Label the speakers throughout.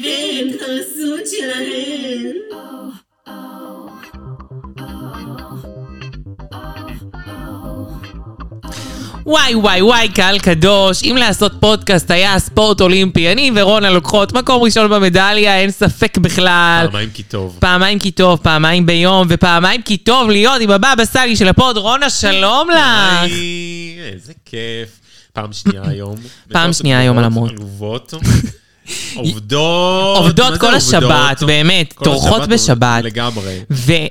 Speaker 1: הן חרסות שלהן.
Speaker 2: וואי וואי וואי, קהל קדוש, אם לעשות פודקאסט היה ספורט אולימפי, אני ורונה לוקחות מקום ראשון במדליה, אין ספק בכלל.
Speaker 3: פעמיים כי טוב.
Speaker 2: פעמיים כי טוב, פעמיים ביום, ופעמיים כי טוב להיות עם הבבא סאלי של הפוד, רונה, שלום לך.
Speaker 3: היי, איזה כיף. פעם שנייה היום.
Speaker 2: פעם שנייה היום על המון.
Speaker 3: עלובות. עובדות.
Speaker 2: עובדות
Speaker 3: מה זה
Speaker 2: כל
Speaker 3: עובדות?
Speaker 2: השבת, באמת,
Speaker 3: כל
Speaker 2: טורחות
Speaker 3: השבת,
Speaker 2: בשבת.
Speaker 3: לגמרי.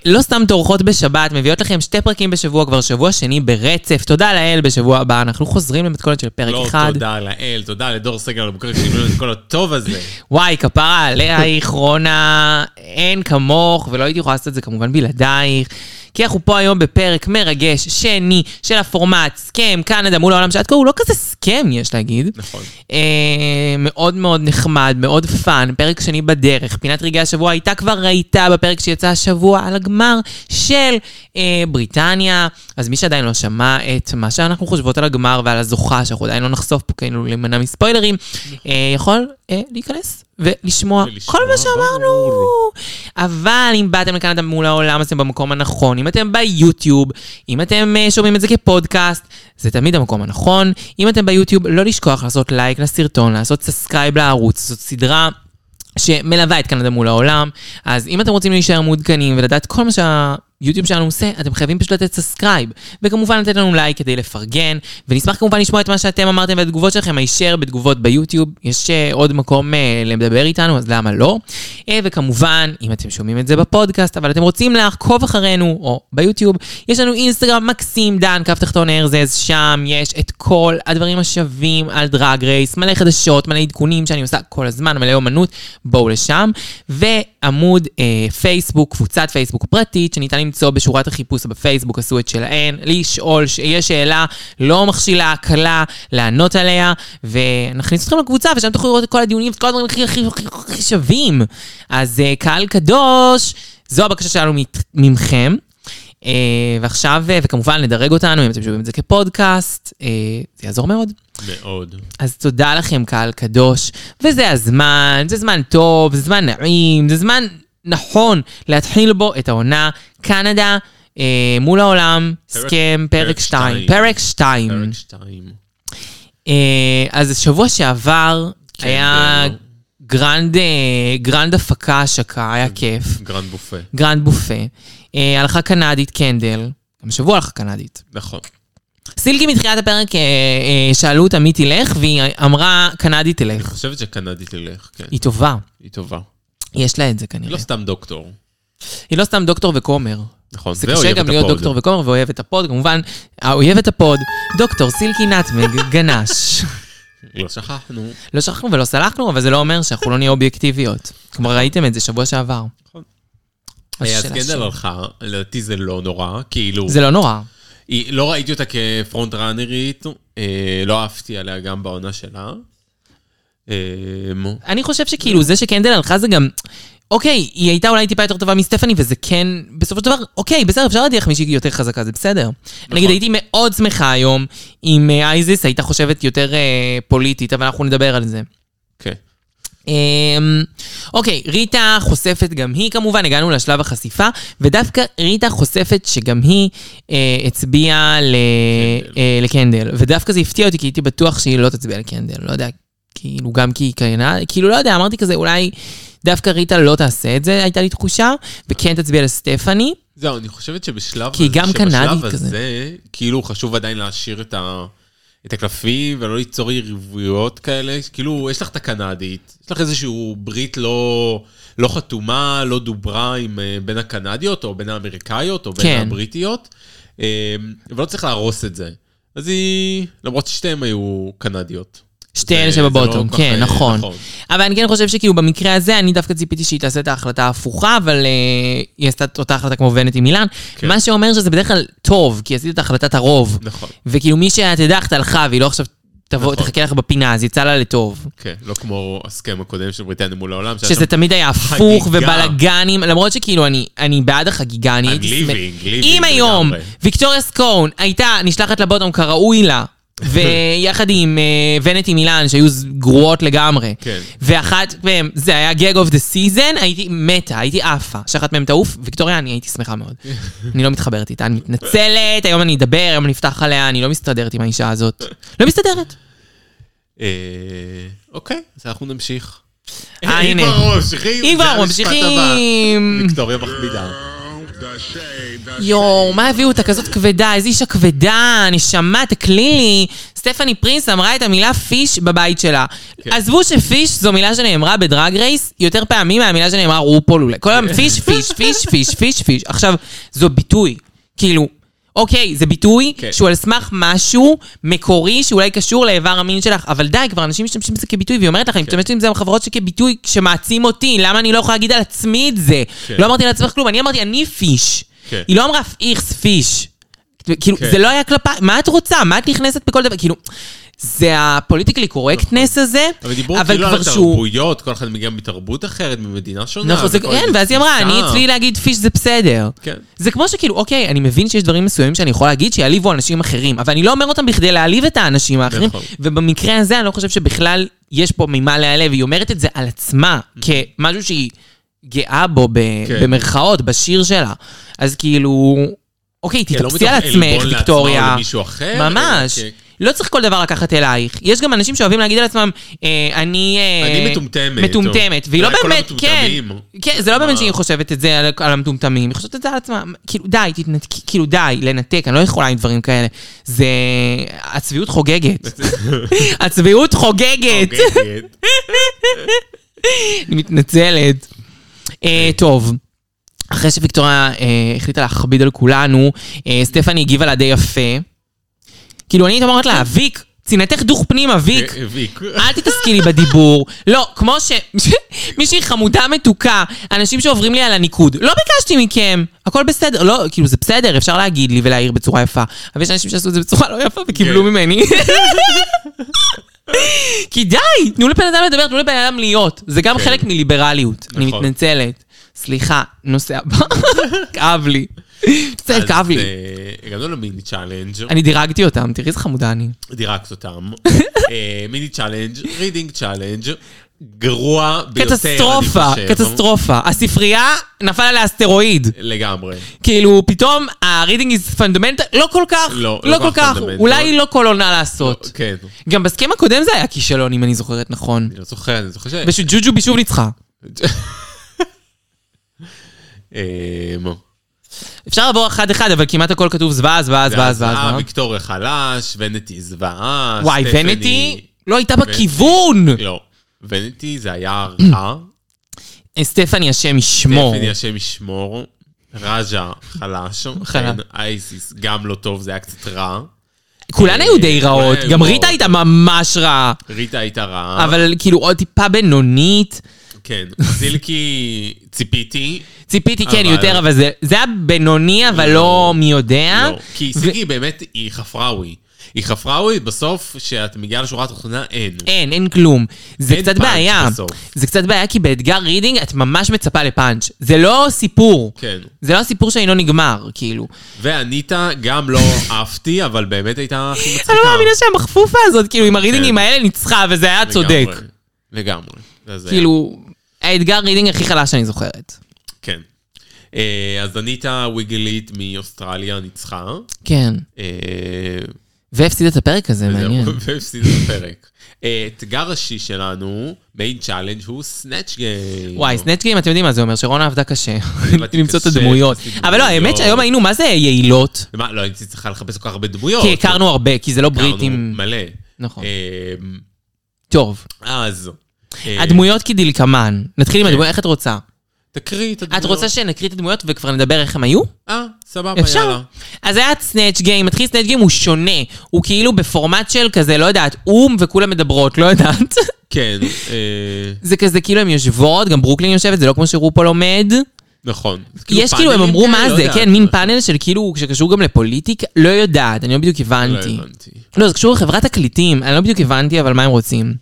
Speaker 2: ולא סתם טורחות בשבת, מביאות לכם שתי פרקים בשבוע, כבר שבוע שני ברצף. תודה לאל, בשבוע הבא אנחנו חוזרים למתכונת של פרק
Speaker 3: לא,
Speaker 2: אחד.
Speaker 3: תודה לאל, תודה לדור סגל אלבוקר שהביאו את כל הטוב הזה.
Speaker 2: וואי, כפרה עלייך, רונה, אין כמוך, ולא הייתי יכולה לעשות את זה כמובן בלעדייך. כי אנחנו פה היום בפרק מרגש, שני, של הפורמט, סכם, קנדה מול העולם, שעד כה הוא לא כזה סכם, יש להגיד.
Speaker 3: נכון.
Speaker 2: אה, מאוד מאוד נחמד, מאוד פאן, פרק שני בדרך. פינת רגעי השבוע הייתה כבר ראיתה בפרק שיצא השבוע על הגמר של אה, בריטניה. אז מי שעדיין לא שמע את מה שאנחנו חושבות על הגמר ועל הזוכה, שאנחנו עדיין לא נחשוף פה כאילו להימנע מספוילרים, אה, יכול אה, להיכנס ולשמוע
Speaker 3: ולשמוע,
Speaker 2: כל מה שאמרנו.
Speaker 3: ברור.
Speaker 2: אבל אם באתם לקנדה מול העולם, אז אתם במקום הנכון. אם אתם ביוטיוב, אם אתם אה, שומעים את זה כפודקאסט, זה תמיד המקום הנכון. אם אתם ביוטיוב, לא לשכוח לעשות לייק לסרטון, לעשות סאסקרייב לערוץ, זאת סדרה. שמלווה את קנדה מול העולם, אז אם אתם רוצים להישאר מעודכנים ולדעת כל מה שהיוטיוב שלנו עושה, אתם חייבים פשוט לתת סאסקרייב, וכמובן לתת לנו לייק כדי לפרגן, ונשמח כמובן לשמוע את מה שאתם אמרתם ואת התגובות שלכם הישר בתגובות ביוטיוב, יש אה, עוד מקום אה, לדבר איתנו, אז למה לא? אה, וכמובן, אם אתם שומעים את זה בפודקאסט, אבל אתם רוצים לעקוב אחרינו, או ביוטיוב, יש לנו אינסטגרם מקסים, דן, קו תחתון ארזז, שם יש את כל הדברים השווים על דרג רייס, מלא חדשות, מלא עדכונים שאני עושה כל הזמן, מלא אומנות, בואו לשם. ועמוד אה, פייסבוק, קבוצת פייסבוק פרטית, שניתן למצוא בשורת החיפוש בפייסבוק, עשו את שלהן, לשאול, ש- יש שאלה לא מכשילה, קלה, לענות עליה, ונכניס אתכם לקבוצה, ושם תוכלו לראות את כל הדיונים, את כל הדברים הכי הכי הכי הכי שווים. אז אה, קהל קדוש, זו הבקשה שלנו מת- ממכם. אה, ועכשיו, אה, וכמובן, לדרג אותנו, אם אתם שומעים את זה כפודקאסט, אה, זה יעזור מאוד.
Speaker 3: מאוד.
Speaker 2: אז תודה לכם, קהל קדוש. וזה הזמן, זה זמן טוב, זה זמן נעים, זה זמן נכון להתחיל בו את העונה. קנדה אה, מול העולם,
Speaker 3: פרק-
Speaker 2: הסכם, פרק 2.
Speaker 3: פרק שתיים.
Speaker 2: פרק 2.
Speaker 3: פרק שתיים.
Speaker 2: אז שבוע שעבר
Speaker 3: כן,
Speaker 2: היה
Speaker 3: זה-
Speaker 2: גרנד, אה, גרנד הפקה, השקה,
Speaker 3: כן.
Speaker 2: היה כיף.
Speaker 3: גרנד בופה.
Speaker 2: גרנד בופה. אה, הלכה קנדית, קנדל. גם שבוע הלכה קנדית.
Speaker 3: נכון.
Speaker 2: סילקי מתחילת הפרק אה, אה, שאלו אותה מי תלך, והיא אמרה, קנדית
Speaker 3: אני
Speaker 2: תלך.
Speaker 3: חושבת שקנדית תלך, כן.
Speaker 2: היא כן. טובה.
Speaker 3: היא טובה.
Speaker 2: יש לה את זה
Speaker 3: היא
Speaker 2: כנראה.
Speaker 3: לא סתם דוקטור.
Speaker 2: היא לא סתם דוקטור וכומר.
Speaker 3: נכון.
Speaker 2: זה קשה גם להיות דוקטור וכומר ואוהב את הפוד, כמובן, האויב את הפוד, דוקטור סילקי נטמג, גנש.
Speaker 3: וכומר. לא שכחנו.
Speaker 2: לא שכחנו ולא סלחנו, אבל זה לא אומר שאנחנו לא נהיה אובייקטיביות. כבר ראיתם את זה שבוע שעבר.
Speaker 3: נכון.
Speaker 2: אז
Speaker 3: אה, אז כן, לא-
Speaker 2: שאלה
Speaker 3: קנדל
Speaker 2: שלי.
Speaker 3: הלכה, לדעתי זה לא נורא, כאילו,
Speaker 2: זה לא נורא.
Speaker 3: היא- לא ראיתי אותה כפרונט ראנרית, אה, לא אהבתי עליה גם בעונה שלה. אה, מו-
Speaker 2: אני חושב שכאילו זה שקנדל הלכה זה גם... אוקיי, היא הייתה אולי טיפה יותר טובה מסטפני, וזה כן, בסופו של דבר, אוקיי, בסדר, אפשר להדיח מישהי יותר חזקה, זה בסדר. נגיד, הייתי מאוד שמחה היום אם אה, אייזיס הייתה חושבת יותר אה, פוליטית, אבל אנחנו נדבר על זה.
Speaker 3: כן.
Speaker 2: אמ, אוקיי, ריטה חושפת גם היא כמובן, הגענו לשלב החשיפה, ודווקא ריטה חושפת שגם היא אה, הצביעה ל... אה, לקנדל, ודווקא זה הפתיע אותי, כי הייתי בטוח שהיא לא תצביע לקנדל, לא יודע, כאילו גם כי היא קיינה, כאילו לא יודע, אמרתי כזה, אולי דווקא ריטה לא תעשה את זה, הייתה לי תחושה, וכן תצביע לסטפני.
Speaker 3: זהו, אני חושבת שבשלב
Speaker 2: כי היא גם
Speaker 3: שבשלב
Speaker 2: קנדית
Speaker 3: הזה,
Speaker 2: כזה.
Speaker 3: כאילו חשוב עדיין להשאיר את, ה, את הקלפים ולא ליצור יריבויות כאלה. כאילו, יש לך את הקנדית, יש לך איזשהו ברית לא, לא חתומה, לא דוברה עם, אה, בין הקנדיות או בין האמריקאיות או בין
Speaker 2: כן.
Speaker 3: הבריטיות, אה, ולא צריך להרוס את זה. אז היא, למרות ששתיהן היו קנדיות.
Speaker 2: שתי
Speaker 3: זה-
Speaker 2: אלה
Speaker 3: זה לא
Speaker 2: שבבוטום,
Speaker 3: כל כך,
Speaker 2: כן,
Speaker 3: אה,
Speaker 2: נכון.
Speaker 3: נכון.
Speaker 2: אבל אני כן חושב שכאילו במקרה הזה, אני דווקא ציפיתי שהיא תעשה את ההחלטה ההפוכה, אבל אה, היא עשתה את אותה החלטה כמו ונט עם אילן.
Speaker 3: כן.
Speaker 2: מה שאומר שזה בדרך כלל טוב, כי עשית את החלטת הרוב.
Speaker 3: נכון,
Speaker 2: וכאילו מי שאת הדחת הלכה, והיא לא עכשיו תבוא,
Speaker 3: נכון.
Speaker 2: תחכה לך בפינה, אז יצא לה לטוב.
Speaker 3: כן, לא כמו הסכם הקודם של בריטניה מול העולם. שהיה
Speaker 2: שזה
Speaker 3: שם-
Speaker 2: תמיד היה הפוך
Speaker 3: חגיגה.
Speaker 2: ובלאגנים, למרות שכאילו אני, אני בעד החגיגה, אני
Speaker 3: I'm
Speaker 2: הייתי... שמח-
Speaker 3: living, living
Speaker 2: אם היום
Speaker 3: לגמרי.
Speaker 2: ויקטוריה סקון הייתה נשלחת לבוטום כראוי לה, ויחד עם אה, ונטי מילאן, שהיו ז- גרועות לגמרי.
Speaker 3: כן.
Speaker 2: ואחת מהן, זה היה גג אוף דה סיזן, הייתי מתה, הייתי עפה. שאחת מהן תעוף, ויקטוריה, אני הייתי שמחה מאוד. אני לא מתחברת איתה, אני מתנצלת, היום אני אדבר, היום אני אפתח עליה, אני לא מסתדרת עם האישה הזאת. לא מסתדרת.
Speaker 3: אה, אוקיי, אז אנחנו נמשיך.
Speaker 2: אה,
Speaker 3: אם
Speaker 2: הנה.
Speaker 3: כבר ממשיכים,
Speaker 2: אם
Speaker 3: זה
Speaker 2: כבר
Speaker 3: המשפט
Speaker 2: ממשיכים.
Speaker 3: הבא. ויקטוריה מכבידה. אה,
Speaker 2: יואו, מה הביאו אותה כזאת כבדה? איזו אישה כבדה, נשמה, תקלי לי. סטפני פרינס אמרה את המילה פיש בבית שלה.
Speaker 3: כן.
Speaker 2: עזבו שפיש זו מילה שנאמרה בדרג רייס יותר פעמים מהמילה שנאמרה רופול אולי. כל היום פיש, פיש, פיש, פיש, פיש, פיש. עכשיו, זו ביטוי. כאילו, אוקיי, זה ביטוי
Speaker 3: כן.
Speaker 2: שהוא על סמך משהו מקורי שאולי קשור לאיבר המין שלך, אבל די, כבר אנשים משתמשים בזה כביטוי, והיא אומרת לך, אני
Speaker 3: כן.
Speaker 2: משתמשת עם זה בחברות שכביטוי שמעצים אותי, למה אני לא יכולה להגיד על עצמי את זה?
Speaker 3: כן.
Speaker 2: לא אמרתי לעצמך כלום, אני אמרתי, אני פיש.
Speaker 3: כן.
Speaker 2: היא לא אמרה איכס פיש. כאילו,
Speaker 3: כן.
Speaker 2: זה לא היה כלפי, מה את רוצה? מה את נכנסת בכל דבר? כאילו, זה הפוליטיקלי קורקטנס הזה,
Speaker 3: נכון. אבל דיברו
Speaker 2: אבל
Speaker 3: כאילו על
Speaker 2: כבר שהוא...
Speaker 3: תרבויות, כל אחד מגיע מתרבות אחרת, ממדינה שונה.
Speaker 2: נכון, זה,
Speaker 3: וכל
Speaker 2: כן,
Speaker 3: זה
Speaker 2: ואז היא אמרה, אני
Speaker 3: תפיסה.
Speaker 2: אצלי להגיד פיש זה בסדר.
Speaker 3: כן.
Speaker 2: זה כמו שכאילו, אוקיי, אני מבין שיש דברים מסוימים שאני יכול להגיד שיעליבו אנשים אחרים, אבל אני לא אומר אותם בכדי להעליב את האנשים האחרים,
Speaker 3: נכון.
Speaker 2: ובמקרה הזה אני לא חושב שבכלל יש פה ממה להיעלב, היא אומרת את זה על עצמה, כמשהו שהיא גאה בו ב-
Speaker 3: כן.
Speaker 2: במרכאות, בשיר שלה. אז כאילו, אוקיי,
Speaker 3: כן, לא
Speaker 2: תתאפסי על
Speaker 3: מתוך
Speaker 2: עצמך,
Speaker 3: עלבון לעצמה או
Speaker 2: ויקטוריה.
Speaker 3: למישהו אחר,
Speaker 2: ממש.
Speaker 3: אלא כן. כ-
Speaker 2: לא צריך כל דבר לקחת אלייך. יש גם אנשים שאוהבים להגיד על עצמם, אה, אני... אה,
Speaker 3: אני מטומטמת,
Speaker 2: מטומטמת,
Speaker 3: או-
Speaker 2: והיא לא
Speaker 3: אולי כל
Speaker 2: באמת, כן.
Speaker 3: המטומטמים.
Speaker 2: כן, זה לא באמת
Speaker 3: מה?
Speaker 2: שהיא חושבת את זה על- על המטומטמים, היא חושבת את זה על עצמה. כאילו, די, תתנתקי, כאילו, די, לנתק, אני לא יכולה עם דברים כאלה. זה... הצביעות חוגגת. הצביעות חוגגת.
Speaker 3: הוגנת.
Speaker 2: אני מתנצלת. אה, טוב. אחרי שוויקטוריה אה, החליטה להכביד על כולנו, אה, סטפני הגיבה לה די יפה. כאילו, אני הייתי אומרת לה, ויק, צינתך דוך פנימה, ויק.
Speaker 3: אה, ויק.
Speaker 2: אל תתעסקי לי בדיבור. לא, כמו ש... מישהי חמודה מתוקה, אנשים שעוברים לי על הניקוד. לא ביקשתי מכם, הכל בסדר. לא, כאילו, זה בסדר, אפשר להגיד לי ולהעיר בצורה יפה. אבל יש אנשים שעשו את זה בצורה לא יפה וקיבלו
Speaker 3: כן.
Speaker 2: ממני. כי די, תנו לבן אדם לדבר, תנו לבן אדם להיות. זה גם
Speaker 3: כן.
Speaker 2: חלק מליברליות. אני
Speaker 3: נכון. מתנצלת.
Speaker 2: מתנצלת. סליחה, נושא הבא. כאב לי.
Speaker 3: אז,
Speaker 2: בסדר, כאב לי.
Speaker 3: אה, הגענו למיני צ'אלנג',
Speaker 2: אני דירגתי אותם, תראי איזה חמודה אני.
Speaker 3: דירקת אותם. אה, מיני צ'אלנג', רידינג צ'אלנג', גרוע ביותר, אני
Speaker 2: קטסטרופה,
Speaker 3: חושב.
Speaker 2: קטסטרופה. הספרייה נפל עליה אסטרואיד.
Speaker 3: לגמרי.
Speaker 2: כאילו, פתאום ה-reading is fundamental, לא כל כך,
Speaker 3: לא,
Speaker 2: לא כל כך,
Speaker 3: fundamental.
Speaker 2: אולי לא כל עונה לעשות.
Speaker 3: כן.
Speaker 2: גם בסכם הקודם זה היה כישלון, אם אני זוכרת נכון.
Speaker 3: אני לא זוכר, אני זוכר ש...
Speaker 2: ושג'וג'ובי שוב ניצחה.
Speaker 3: אה, מו.
Speaker 2: אפשר לעבור אחד-אחד, אבל כמעט הכל כתוב זוועה, זוועה, זוועה,
Speaker 3: ואז,
Speaker 2: זוועה.
Speaker 3: אה,
Speaker 2: זוועה.
Speaker 3: ויקטוריה חלש, ונטי זוועה,
Speaker 2: וואי,
Speaker 3: סטפני-
Speaker 2: ונטי לא הייתה בכיוון!
Speaker 3: לא. ונטי זה היה רע.
Speaker 2: אה, סטפני, השם ישמור.
Speaker 3: סטפני השם ישמור. רג'ה חלש.
Speaker 2: חלש.
Speaker 3: כן, אייסיס גם לא טוב, זה היה קצת רע.
Speaker 2: כולן היו די
Speaker 3: כולן
Speaker 2: רעות,
Speaker 3: היו
Speaker 2: גם
Speaker 3: רעות.
Speaker 2: ריטה הייתה ממש רעה.
Speaker 3: ריטה הייתה רעה.
Speaker 2: אבל כאילו עוד טיפה בינונית.
Speaker 3: כן. זילקי ציפיתי.
Speaker 2: ציפיתי כן
Speaker 3: אבל-
Speaker 2: יותר, אבל זה זה היה בינוני, אבל לא מי יודע.
Speaker 3: לא. כי סיגי באמת, היא חפראווי. היא חפראווי, בסוף, כשאת מגיעה לשורה התחתונה, אין.
Speaker 2: אין, אין כלום. זה
Speaker 3: אין
Speaker 2: קצת
Speaker 3: פאנץ'
Speaker 2: בעיה.
Speaker 3: בסוף.
Speaker 2: זה קצת בעיה כי באתגר רידינג את ממש מצפה לפאנץ'. זה לא סיפור.
Speaker 3: כן.
Speaker 2: זה לא הסיפור שאינו נגמר, כאילו.
Speaker 3: ואניטה גם לא עפתי, אבל באמת הייתה הכי מצחיקה.
Speaker 2: אני לא מאמינה שהמחפופה הזאת, כאילו, עם הרידינגים האלה ניצחה, וזה היה
Speaker 3: לגמרי.
Speaker 2: צודק.
Speaker 3: לגמרי. זה זה היה.
Speaker 2: כאילו, האתגר רידינג הכי חלש שאני זוכרת.
Speaker 3: כן. אה, אז אניטה וויגלית מאוסטרליה ניצחה.
Speaker 2: כן.
Speaker 3: אה,
Speaker 2: והפסיד את הפרק הזה, מעניין.
Speaker 3: וזהו, והפסיד את הפרק. אה, אתגר ראשי שלנו, מיין צ'אלנג' הוא סנאצ' גיים.
Speaker 2: וואי, סנאצ'גים, אתם יודעים מה זה אומר, שרונה עבדה לא. קשה.
Speaker 3: עבדתי
Speaker 2: למצוא את
Speaker 3: קשה,
Speaker 2: הדמויות.
Speaker 3: עשיתי
Speaker 2: אבל לא,
Speaker 3: דמויות.
Speaker 2: האמת שהיום היינו, מה זה יעילות?
Speaker 3: מה, לא הייתי צריכה לחפש כל כך הרבה דמויות.
Speaker 2: כי הכרנו הרבה, כי זה לא
Speaker 3: הכרנו
Speaker 2: בריטים.
Speaker 3: מלא.
Speaker 2: נכון.
Speaker 3: אה,
Speaker 2: טוב.
Speaker 3: אז. אה,
Speaker 2: הדמויות כדלקמן. נתחיל עם
Speaker 3: כן.
Speaker 2: הדמויות, איך את רוצה?
Speaker 3: תקריא את הדמויות.
Speaker 2: את רוצה שנקריא את הדמויות וכבר נדבר איך הם היו?
Speaker 3: אה, סבבה,
Speaker 2: אפשר.
Speaker 3: יאללה.
Speaker 2: אז היה את סנאצ' גיים, מתחיל סנאצ' גיים, הוא שונה. הוא כאילו בפורמט של כזה, לא יודעת, אום וכולם מדברות, לא יודעת.
Speaker 3: כן, אה,
Speaker 2: זה כזה, כאילו הם יושבות, גם ברוקלין יושבת, זה לא כמו שרופול עומד.
Speaker 3: נכון. זה
Speaker 2: יש כאילו, הם
Speaker 3: פאנלים
Speaker 2: אמרו
Speaker 3: כאלה,
Speaker 2: מה
Speaker 3: לא
Speaker 2: זה,
Speaker 3: יודעת.
Speaker 2: כן, מין פאנל של כאילו, שקשור גם לפוליטיקה, לא יודעת, אני לא בדיוק
Speaker 3: לא
Speaker 2: הבנתי.
Speaker 3: הבנתי.
Speaker 2: לא, זה קשור לחברת תקליטים, אני לא בדיוק הבנתי, אבל מה הם רוצים?